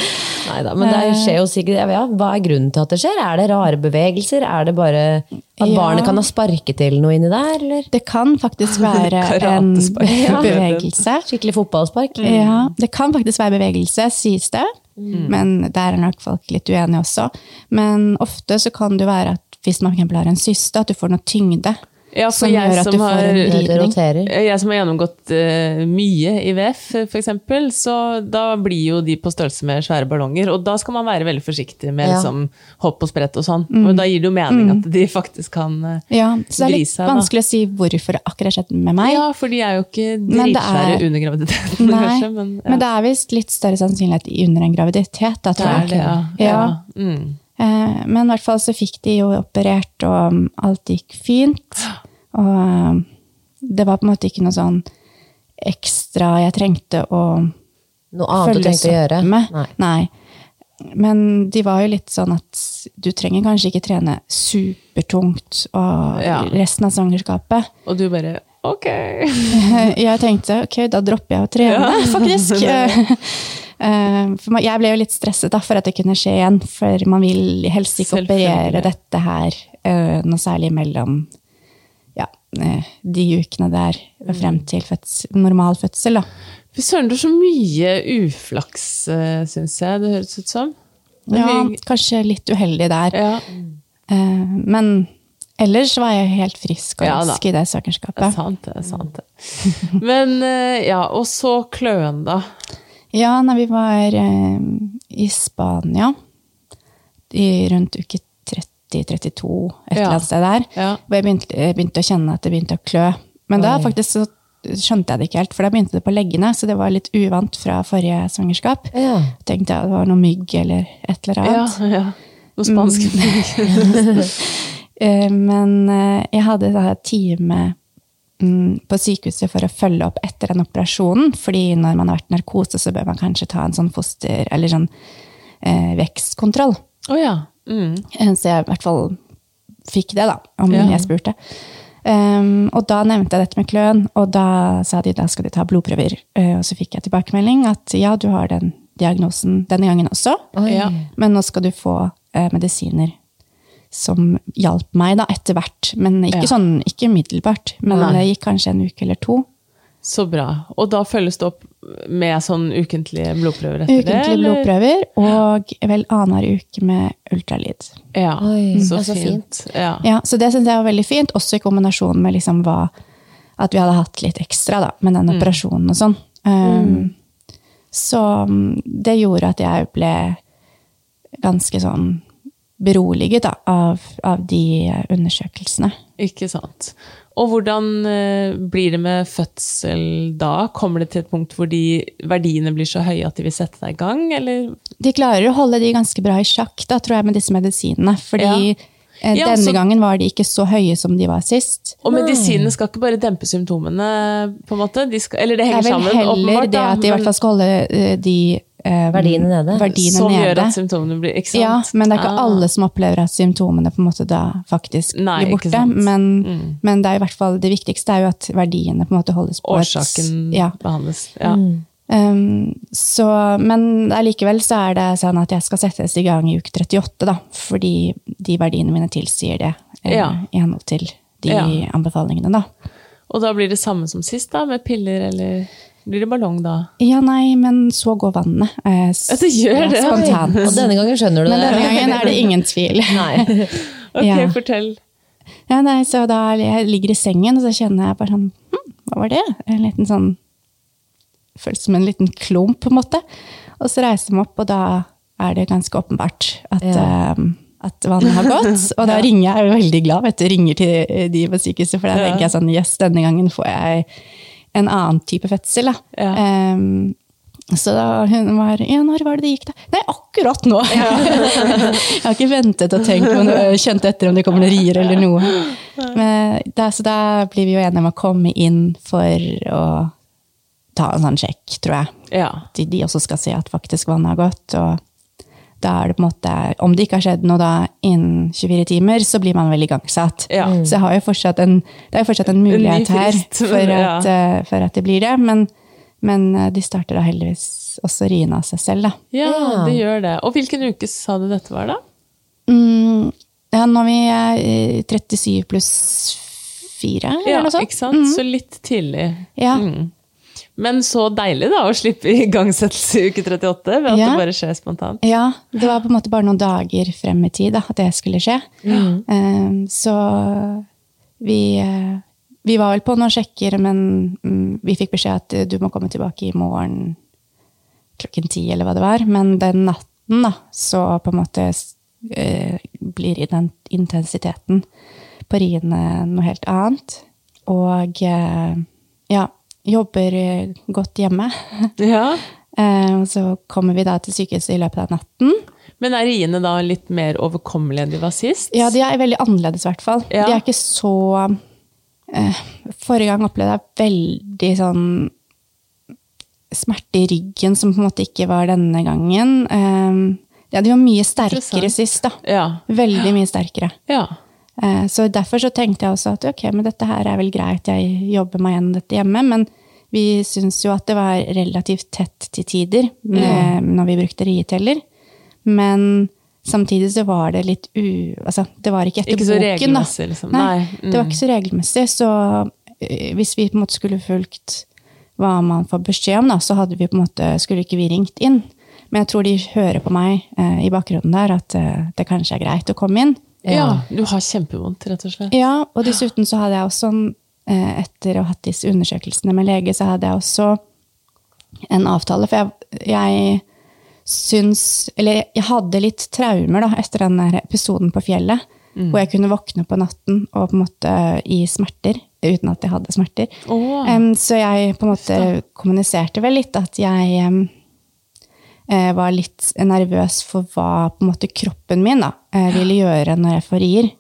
D: Nei da, men det skjer jo sikkert ja, Hva er grunnen til at det skjer? Er det rare bevegelser? Er det bare at
C: Ja.
D: barnet kan ha sparket til noe inni der, eller?
C: Det kan faktisk være en
B: Karatespark. Ja.
C: bevegelse.
D: Skikkelig fotballspark?
C: Ja, det kan faktisk være bevegelse, sies det.
D: Mm.
C: Men der er nok folk litt uenige også. Men ofte så kan det jo være at hvis man for eksempel har en syste, at du får noe tyngde.
B: Ja, for
C: som
B: jeg
C: gjør at du
B: som
C: får
B: har-
C: en
D: Det
C: vridning.
D: roterer.
B: Jeg som har gjennomgått eh, mye i VF, f.eks., så da blir jo de på størrelse med svære ballonger. Og da skal man være veldig forsiktig med
D: Ja.
B: liksom, hopp og sprett og sånn.
C: Mm.
B: Og da gir det jo mening at de faktisk kan eh,
C: Ja, så det er
B: vri
C: litt
B: seg. da.
C: vanskelig å si hvorfor det akkurat skjedde med meg.
B: Ja, for de er jo ikke
C: Men det
B: dritsvære
C: er-
B: under graviditeten,
C: Nei,
B: kanskje. Men, ja.
C: men, det er visst litt større sannsynlighet i- under en graviditet, da,
B: Det
C: tror
B: er
C: jeg.
B: det, ja.
C: Ja.
B: Mm.
C: Eh, Men i hvert fall så fikk de jo operert, og um, alt gikk fint. Og um, det var på en måte ikke noe sånn ekstra jeg trengte å
D: Noe annet du
C: følges
D: tenkte å
C: opp
D: gjøre?
C: med.
D: Nei.
C: Men de var jo litt sånn at du trenger kanskje ikke trene supertungt og
B: Ja.
C: resten av svangerskapet.
B: Og du bare Ok!
C: Jeg tenkte ok, da dropper jeg å trene, faktisk. Eh, For man- jeg ble jo litt stresset da, for at det kunne skje igjen, for man vil helst ikke
B: Selvfølgelig.
C: operere dette her eh, noe særlig mellom ja, eh, de ukene der
B: Mm.
C: og frem til fødsel, normal fødsel. Da.
B: eh, Fy søren, du har så mye uflaks, syns jeg det høres ut som.
C: Ja, kanskje litt uheldig der.
B: Ja.
C: Eh, Men ellers var jeg helt frisk og
B: Ja da.
C: rask i det
B: Det er
C: søkerskapet.
B: sant, det er sant. det. Men eh, ja, og så kløen, da.
C: Ja, nei, vi var eh, i Spania i rundt uke 30-32, et eller
B: Ja.
C: annet sted der.
B: Ja.
C: Hvor jeg begynte, jeg begynte å kjenne at det begynte å klø. Men da faktisk så skjønte jeg det ikke helt, for da begynte det på leggene, så det var litt uvant fra forrige svangerskap.
D: Ja.
C: Tenkte jeg det var noe mygg eller et eller
B: Ja,
C: annet.
B: ja. Noe spansk.
C: Eh, Men eh, jeg hadde da et time mm, på sykehuset for å følge opp etter den operasjonen. fordi når man har vært i narkose, så bør man kanskje ta en sånn foster- eller sånn eh, vekstkontroll.
B: Å ja. Mm.
C: Eh, Så jeg i hvert fall fikk det, da, om
B: Ja.
C: jeg spurte. Um, og da nevnte jeg dette med kløen, og da sa de da skal de ta blodprøver. Eh, og så fikk jeg tilbakemelding at ja, du har den diagnosen denne gangen også,
B: Ja.
C: men nå skal du få eh, medisiner som hjalp meg da etter hvert. Men ikke
B: Ja.
C: sånn, ikke umiddelbart, men
B: Nei.
C: det gikk kanskje en uke eller to.
B: Så bra. Og da følges det opp med sånn ukentlige blodprøver etter det?
C: Ukentlige
B: eller?
C: blodprøver og vel annenhver uke med ultralyd.
B: Ja,
D: Oi,
B: så,
D: det er så
B: fint. Ja.
C: Ja, så det syns jeg var veldig fint, også i kombinasjon med liksom hva At vi hadde hatt litt ekstra da, med
B: Mm.
C: den operasjonen og sånn. Um, Så um, det gjorde at jeg ble ganske sånn beroliget da, av, av de eh, undersøkelsene.
B: Ikke sant. Og hvordan eh, blir det med fødsel da? Kommer det til et punkt hvor de verdiene blir så høye at de vil sette deg i gang, eller?
C: De klarer å holde de ganske bra i sjakk, da, tror jeg, med disse medisinene. Fordi
B: Ja.
C: eh,
B: Ja,
C: denne
B: så-
C: gangen var de ikke så høye som de var sist.
B: Og medisinene skal ikke bare dempe symptomene, på en måte? De skal, eller det
C: Det
B: henger
C: er vel
B: sammen,
C: heller
B: åpenbart.
C: det
B: da,
C: at de i
B: men
C: hvert fall skal holde eh, de eh,
D: Verdiene nede.
C: verdiene
B: Som
C: nede.
B: gjør at symptomene blir Ikke sant?
C: Ja, men det er ikke
B: Ah.
C: alle som opplever at symptomene på en måte da faktisk
B: Nei,
C: blir
B: ikke
C: borte.
B: sant. Mm.
C: Men, men det er i hvert fall det viktigste er jo at verdiene på en måte holdes på et-
B: Årsaken
C: Ja.
B: behandles. Ja.
C: Um, så, men allikevel så er det sånn at jeg skal settes i gang i uke 38, da. Fordi de verdiene mine tilsier det eh,
B: Ja.
C: i henhold til de
B: Ja.
C: anbefalingene, da.
B: Og da blir det samme som sist, da, med piller, eller blir det ballong da?
C: Ja, nei, men så går vannet. Eh, s-
B: Ja, det gjør
C: ja,
B: det.
C: Spontant.
D: Og denne gangen skjønner du
C: Men denne
D: det.
C: gangen er det ingen tvil.
D: Nei.
B: Ok,
C: Ja.
B: fortell.
C: Ja, nei, så da er- jeg ligger i sengen, og så kjenner jeg bare sånn hm, Hva var det? En liten sånn Føles som en liten klump, på en måte. Og så reiser jeg meg opp, og da er det ganske åpenbart at, ehm, at vannet har gått. Og da ringer jeg, jeg er veldig glad, vet du, ringer til eh, de på sykehuset, for da tenker jeg sånn Yes, denne gangen får jeg en annen type fødsel, da.
B: Ja.
C: Ehm, så da hun var Ja, når var det det gikk, da? Nei, akkurat nå! jeg har ikke ventet og tenkt, men øh, kjent etter om det kommer noen rier eller noe. Men, da, så da blir vi jo enige om å komme inn for å ta en sånn sjekk, tror jeg.
B: Ja.
C: De, de også skal se at faktisk vannet har gått. Og da er det på en måte Om det ikke har skjedd noe da innen 24 timer, så blir man vel igangsatt.
B: Ja.
C: Så jeg har jo fortsatt en, det er jo fortsatt en mulighet her
B: frist,
C: for
B: ja.
C: at, eh, for at det blir det. Men, men eh, de starter da heldigvis også riene av seg selv, da.
B: ja, det gjør det. Og hvilken uke sa du dette var, da?
C: Mm, ja, når vi er eh, 37 pluss 4, eller
B: Ja,
C: noe sånt. Mm.
B: ikke sant? Mm. Så litt tidlig.
C: Ja.
B: Men så deilig, da, å slippe igangsettelse i uke 38 ved at
C: Ja.
B: det bare skjer spontant.
C: ja, det var på en måte bare noen dager frem i tid da, at det skulle skje. Eh, så vi, eh, vi var vel på noen sjekker, men mm, vi fikk beskjed at eh, du må komme tilbake i morgen klokken ti, eller hva det var. Men den natten, da, så på en måte eh, blir i den intensiteten på riene noe helt annet. Og eh, ja, jobber eh, godt hjemme.
B: Ja.
C: Eh, og så kommer vi da til sykehuset i løpet av natten.
B: Men er riene da litt mer overkommelige enn de var sist?
C: Ja, de er veldig annerledes i hvert fall.
B: Ja.
C: De er ikke så eh, Forrige gang opplevde jeg veldig sånn smerte i ryggen som på en måte ikke var denne gangen. Eh, ja, de var mye sterkere
B: Interessant.
C: sist, da.
B: Ja.
C: Veldig mye sterkere.
B: ja.
C: Eh, så derfor så tenkte jeg også at ok, men dette her er vel greit, jeg jobber meg gjennom dette hjemme. Men vi syns jo at det var relativt tett til tider med, når vi brukte rieteller. Men samtidig så var det litt u... Altså, det var ikke etter
B: Ikke så
C: boken, da.
B: regelmessig, liksom. Nei, mm.
C: det var ikke så regelmessig. Så eh, hvis vi på en måte skulle fulgt hva man får beskjed om, da, så hadde vi på en måte, skulle ikke vi ringt inn. Men jeg tror de hører på meg eh, i bakgrunnen der at eh, det kanskje er greit å komme inn.
B: Ja, du har kjempevondt, rett og slett.
C: Ja, og dessuten så hadde jeg også, en, eh, etter å ha hatt disse undersøkelsene med lege, så hadde jeg også en avtale, for jeg, jeg syns Eller jeg hadde litt traumer da, etter den der episoden på fjellet, hvor jeg kunne våkne på natten og på en måte i smerter, uten at jeg hadde smerter.
B: Åh.
C: Em, så jeg på en måte kommuniserte vel litt at jeg em, eh, var litt nervøs for hva på en måte kroppen min da, eh, ville gjøre når jeg forrir.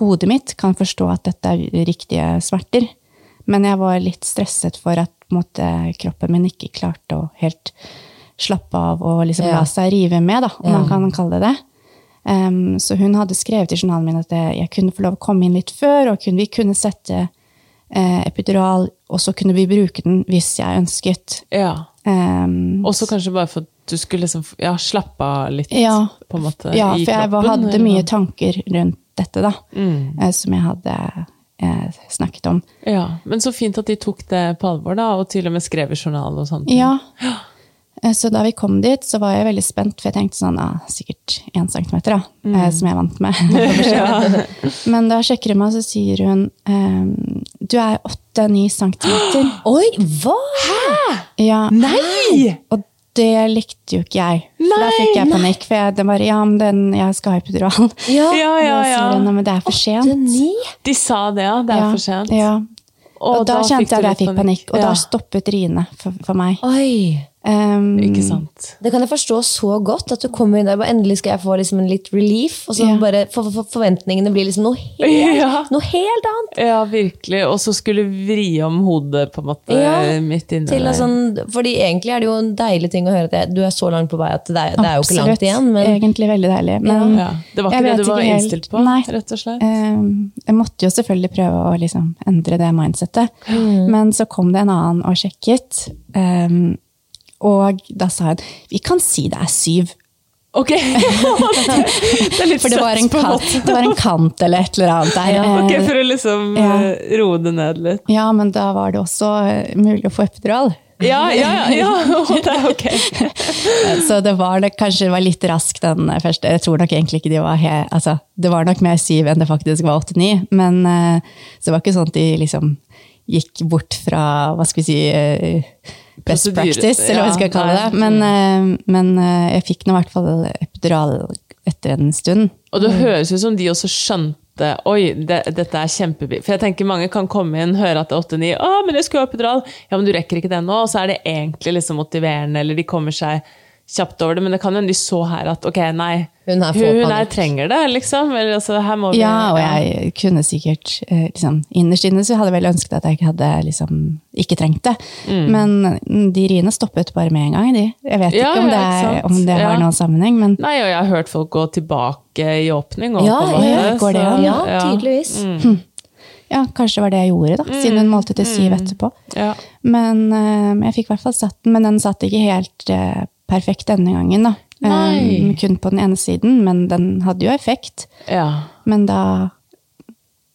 C: Hodet mitt kan forstå at dette er riktige smerter, men jeg var litt stresset for at på en måte, kroppen min ikke klarte å helt slappe av og liksom
D: Ja.
C: la seg rive med, da, om man kan kalle det det. Em, så hun hadde skrevet i journalen min at jeg, jeg kunne få lov å komme inn litt før, og kunne, vi kunne sette eh, epidural, og så kunne vi bruke den hvis jeg ønsket.
B: Ja.
C: Em,
B: Og så kanskje bare for at du skulle liksom ja, slappe av litt
C: Ja.
B: på en måte,
C: ja,
B: i
C: for jeg var-
B: kroppen,
C: hadde
B: eller Mm.
C: mye
B: noe?
C: tanker rundt dette, da. eh, Som jeg hadde eh, snakket om.
B: ja. Men så fint at de tok det på alvor, da, og til og med skrev i journalen og sånt.
C: Ja. Eh, Så da vi kom dit, så var jeg veldig spent, for jeg tenkte sånn ah, Sikkert én centimeter, da.
B: Mm.
C: eh, Som jeg er vant med. Men da sjekker hun meg, så sier hun ehm, Du er åtte-ni centimeter.
D: Oi, hva?!
C: Ja.
B: Nei!
C: Og det likte jo ikke jeg. For da fikk jeg panikk. For jeg, den bare Ja, men den, jeg skal ha epidural.
D: Ja,
B: Ja, ja,
C: Da
B: ja.
C: sier hun, «Nei, men det er for
D: det er
C: sent.
D: ni.
B: De sa det, ja. Det er
C: Ja,
B: for sent.
C: Ja. Og, da,
B: fikk
C: kjente jeg
B: du
C: at jeg
B: litt
C: fikk panikk, og da
B: Ja,
C: stoppet riene for, for meg.
D: Oi.
C: Um,
B: Ikke sant.
D: Det kan jeg forstå så godt. At du kommer inn der bare, endelig skal jeg få liksom en litt relief. Og så
C: Ja.
D: bare for, for, forventningene blir liksom noe helt,
B: Ja.
D: noe helt annet.
B: Ja, virkelig. Og så skulle vri om hodet, på en måte,
D: Ja,
B: midt inne
D: Til
B: der.
D: en sånn, fordi egentlig er det jo en deilig ting å høre at jeg, du er så langt på vei at det er, det er jo ikke langt igjen. Men
C: Egentlig veldig deilig. Men
B: ja. Det var
C: jeg
B: ikke det
C: vet
B: du var
C: helt.
B: innstilt på,
C: Nei.
B: rett og slett?
C: Um, jeg måtte jo selvfølgelig prøve å liksom endre det mindsettet.
D: Mm.
C: Men så kom det en annen og sjekket, um, og da sa hun vi kan si det er syv.
B: Ok! det er litt
C: For det var, en
B: søtt, på en
C: kant,
B: måte.
C: det var en kant eller et eller annet der.
B: Ok,
C: Eh,
B: for å liksom
C: Ja.
B: eh, roe det ned litt.
C: Ja, men da var det også eh, mulig å få epidural.
B: Ja, ja, ja! ja. Det er ok.
C: Eh, Så det var nok, kanskje det var litt rask den eh, første. Jeg tror nok egentlig ikke de var he, altså, Det var nok mer syv enn det faktisk var åtte-ni. Men eh, så det var ikke sånn at de liksom gikk bort fra hva skal vi si eh, best
B: Prosedyre.
C: practice, eller hva vi skal
B: Ja,
C: kalle det. Men, eh, men eh, jeg fikk nå i hvert fall epidural etter en stund.
B: Og det høres ut som de også skjønte Oi, det, dette er kjempebi... For jeg tenker mange kan komme inn, høre at det er 8-9, å, men jeg skulle ha epidural. Ja, men du rekker ikke det nå. Og så er det egentlig liksom motiverende, eller de kommer seg kjapt over det. Men det kan hende de så her at ok, nei,
D: Hun her får
B: hun, her
D: panikk.
B: trenger det, liksom. Eller altså, her må vi
C: Ja, og jeg kunne sikkert eh, liksom, Innerst inne så hadde jeg vel ønsket at jeg ikke hadde liksom, ikke trengt det.
B: Mm.
C: Men mm, de riene stoppet bare med en gang, de. Jeg vet
B: Ja,
C: ikke om
B: ja,
C: det,
B: ikke
C: er,
B: sant?
C: om det
B: Ja.
C: har noen sammenheng, men
B: Nei, og jeg har hørt folk gå tilbake i åpning. Og,
D: Ja,
B: på en måte,
C: ja, går det
B: så-
C: an?
D: ja, tydeligvis.
C: ja, kanskje det var det jeg gjorde, da. Siden hun målte til syv etterpå.
B: Mm. Ja.
C: Men eh, jeg fikk i hvert fall satt den, men den satt ikke helt eh, perfekt denne gangen, da. Eh,
B: Nei.
C: kun på den ene siden, men den hadde jo effekt.
B: Ja.
C: Men da,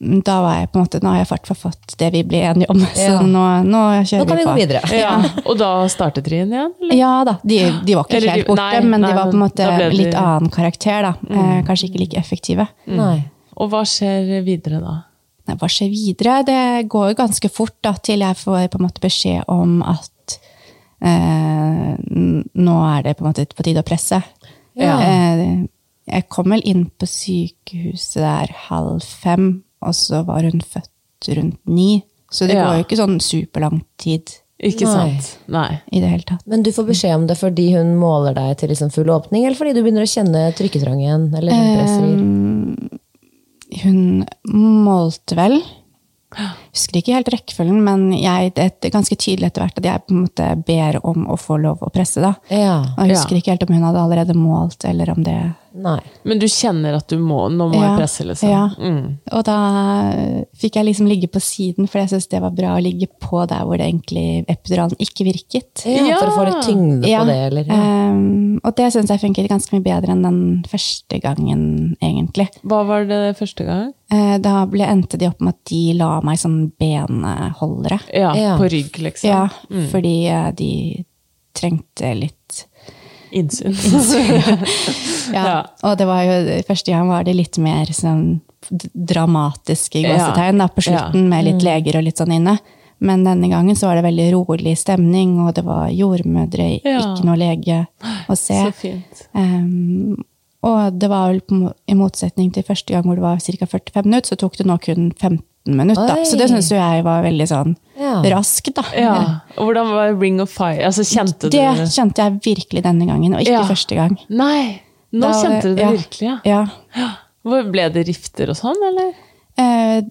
C: da var jeg på en måte Nå har jeg fart for fått det vi ble enige om,
D: Ja.
C: så nå, nå kjører
D: Nå kan vi
C: på.
D: gå videre.
B: ja. Og da startet trien igjen? Eller?
C: Ja da, de, de var ikke
B: Eller de-
C: helt borte,
B: nei,
C: men
B: nei,
C: de var på en
B: men
C: måte
B: da ble de-
C: litt annen karakter, da. Eh, kanskje ikke like effektive.
D: Nei.
B: Og hva skjer videre da?
C: Nei, hva skjer videre? Det går jo ganske fort da, til jeg får på en måte beskjed om at eh, n- nå er det på en måte på tide å presse.
D: Ja.
C: Eh, jeg kom vel inn på sykehuset der halv fem, og så var hun født rundt ni. Så det
B: Ja.
C: går jo ikke sånn superlang tid
B: Ikke
D: Nei.
B: sant? Nei.
C: i det hele tatt.
D: Men du får beskjed om det fordi hun måler deg til liksom full åpning, eller fordi du begynner å kjenne trykketrangen? Eller sånn presserier?
C: Hun målte vel Husker ikke helt rekkefølgen, men jeg, det er ganske tydelig etter hvert at jeg på en måte ber om å få lov å presse. da.
D: ja.
C: Og Jeg husker
B: Ja.
C: ikke helt om hun hadde allerede målt, eller om det
D: Nei.
B: Men du kjenner at du må, nå må jeg presse, liksom?
C: ja.
B: Mm.
C: Og da fikk jeg liksom ligge på siden, for jeg syntes det var bra å ligge på der hvor det egentlig epiduralen ikke virket.
D: Ja, For å få litt tyngde
C: Ja.
D: på det, eller? Ja.
C: Ehm, og det syns jeg funket ganske mye bedre enn den første gangen, egentlig.
B: Hva var det første gang?
C: Eh, da ble, endte de opp med at de la meg sånn benholdere.
B: Ja,
D: Ja.
B: På rygg, liksom?
C: Ja, fordi eh, de trengte litt
B: Innsyn.
C: Ja.
B: Ja.
C: Og det var jo, første gang var det litt mer sånn d- dramatisk i gåsetegn da,
B: Ja. Mm.
C: på slutten, med litt leger og litt sånn inne. Men denne gangen så var det veldig rolig stemning, og det var jordmødre,
B: Ja.
C: ikke noe lege å se.
B: Så fint.
C: Ehm, og det var vel på, mo- i motsetning til første gang hvor det var ca. 45 minutter, så tok det nå kun 15 minutter. Da.
D: Oi.
C: Så det syns jo jeg var veldig sånn
D: Ja.
C: raskt, da.
B: Ja. Og hvordan var Ring of Fire? Altså, kjente
C: Det
B: du
C: kjente jeg virkelig denne gangen, og ikke
B: Ja.
C: første gang.
B: Nei! Nå
C: Da var
B: kjente du det
C: ja.
B: virkelig, ja.
C: ja.
B: Hvor ble det rifter og sånn, eller?
C: Eh,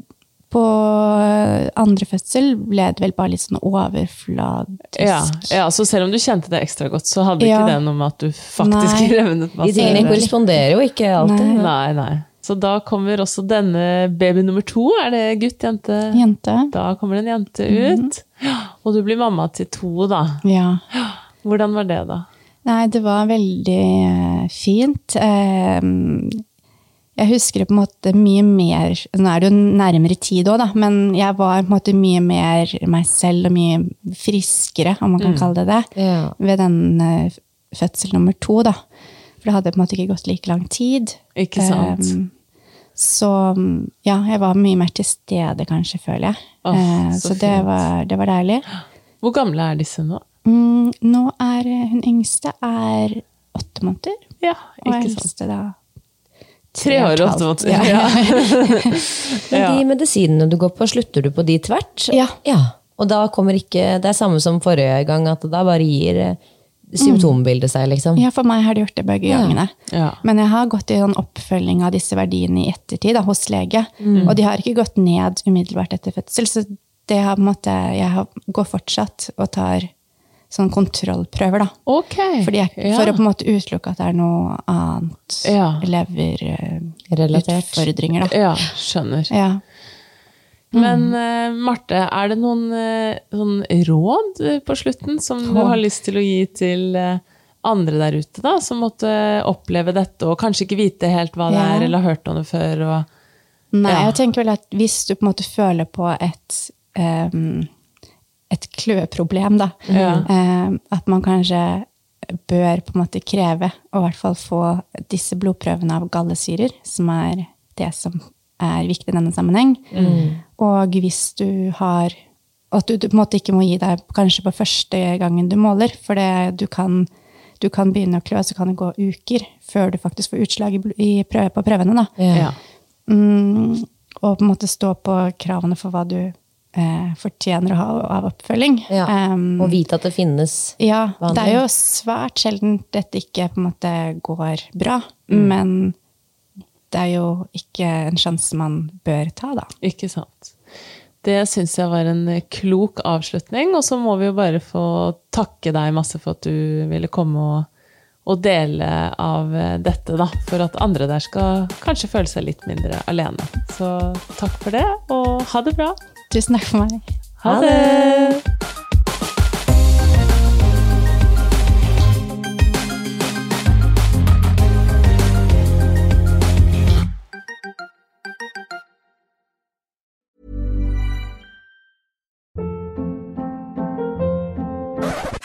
C: på eh, andre fødsel ble det vel bare litt sånn overfladisk.
B: Ja, ja, så selv om du kjente det ekstra godt, så hadde ikke
C: Ja.
B: det noe med at du faktisk
C: Nei.
B: revnet
D: De
B: masse?
D: tingene
C: Egentlig.
D: korresponderer jo ikke alltid.
B: Nei, nei. Så da kommer også denne baby nummer to. Er det gutt, jente?
C: Jente.
B: Da kommer det en jente ut. Og du blir mamma til to, da.
C: Ja.
B: Hvordan var det, da?
C: Nei, det var veldig eh, fint. Eh, Jeg husker på en måte mye mer Nå er det jo nærmere tid òg, da, men jeg var på en måte mye mer meg selv og mye friskere, om man
B: Mm.
C: kan kalle det det,
D: Ja.
C: ved den eh, fødsel nummer to, da. For det hadde på en måte ikke gått like lang tid.
B: Ikke sant?
C: Um, så um, ja, jeg var mye mer til stede, kanskje, føler jeg.
B: Åh,
C: Eh,
B: så
C: så det
B: fint.
C: var, det var deilig.
B: Hvor gamle er disse nå?
C: Mm, nå er eh, hun yngste er åtte måneder,
B: Ja,
C: og
B: ikke sant?
C: eldste da
B: Tre år og åtte måneder.
C: Ja.
B: Ja.
D: Men de medisinene du går på, slutter du på de tvert?
C: Ja.
D: Og da kommer ikke Det er samme som forrige gang, at da bare gir eh, symptombildet seg, liksom.
C: Ja, for meg har det gjort det begge gangene.
B: Ja.
C: Men jeg har gått i sånn oppfølging av disse verdiene i ettertid da, hos lege.
B: Mm.
C: Og de har ikke gått ned umiddelbart etter fødsel, så det har på en måte, jeg har, går fortsatt og tar sånn kontrollprøver. da.
B: Ok.
C: Fordi jeg,
B: ja.
C: For å på en måte utelukke at det er noe annet
B: Ja.
D: Relatert.
C: leverutfordringer. da.
B: ja, skjønner.
C: Ja.
B: Men eh, Marte, er det noen eh, sånn råd eh, på slutten som du har lyst til å gi til eh, andre der ute, da, som måtte oppleve dette og kanskje ikke vite helt hva det
C: Ja.
B: er, eller har hørt om det før? Og...
C: Nei,
B: Ja.
C: jeg tenker vel at hvis du på en måte føler på et em, et kløeproblem, da, em, at man kanskje bør på en måte kreve, og i hvert fall få disse blodprøvene av gallesyrer, som er det som er viktig i denne sammenheng. Og hvis du har Og at du, du på en måte ikke må gi deg kanskje på første gangen du måler, for det, du, kan, du kan begynne å klø, så kan det gå uker før du faktisk får utslag i, bl- i prøve, på prøvene. da.
B: Ja.
C: Mm, og på en måte stå på kravene for hva du eh, fortjener å ha av oppfølging.
D: Ja.
C: Em,
D: Og vite at det finnes.
C: ja, det er
D: behandling.
C: jo svært sjelden dette ikke på en måte går bra,
D: Mm.
C: men det er jo ikke en sjanse man bør ta, da.
B: Ikke sant. Det syns jeg var en eh, klok avslutning, og så må vi jo bare få takke deg masse for at du ville komme og, og dele av eh, dette, da, for at andre der skal kanskje føle seg litt mindre alene. Så takk for det, og ha det bra.
C: Tusen takk for meg.
B: Ha det!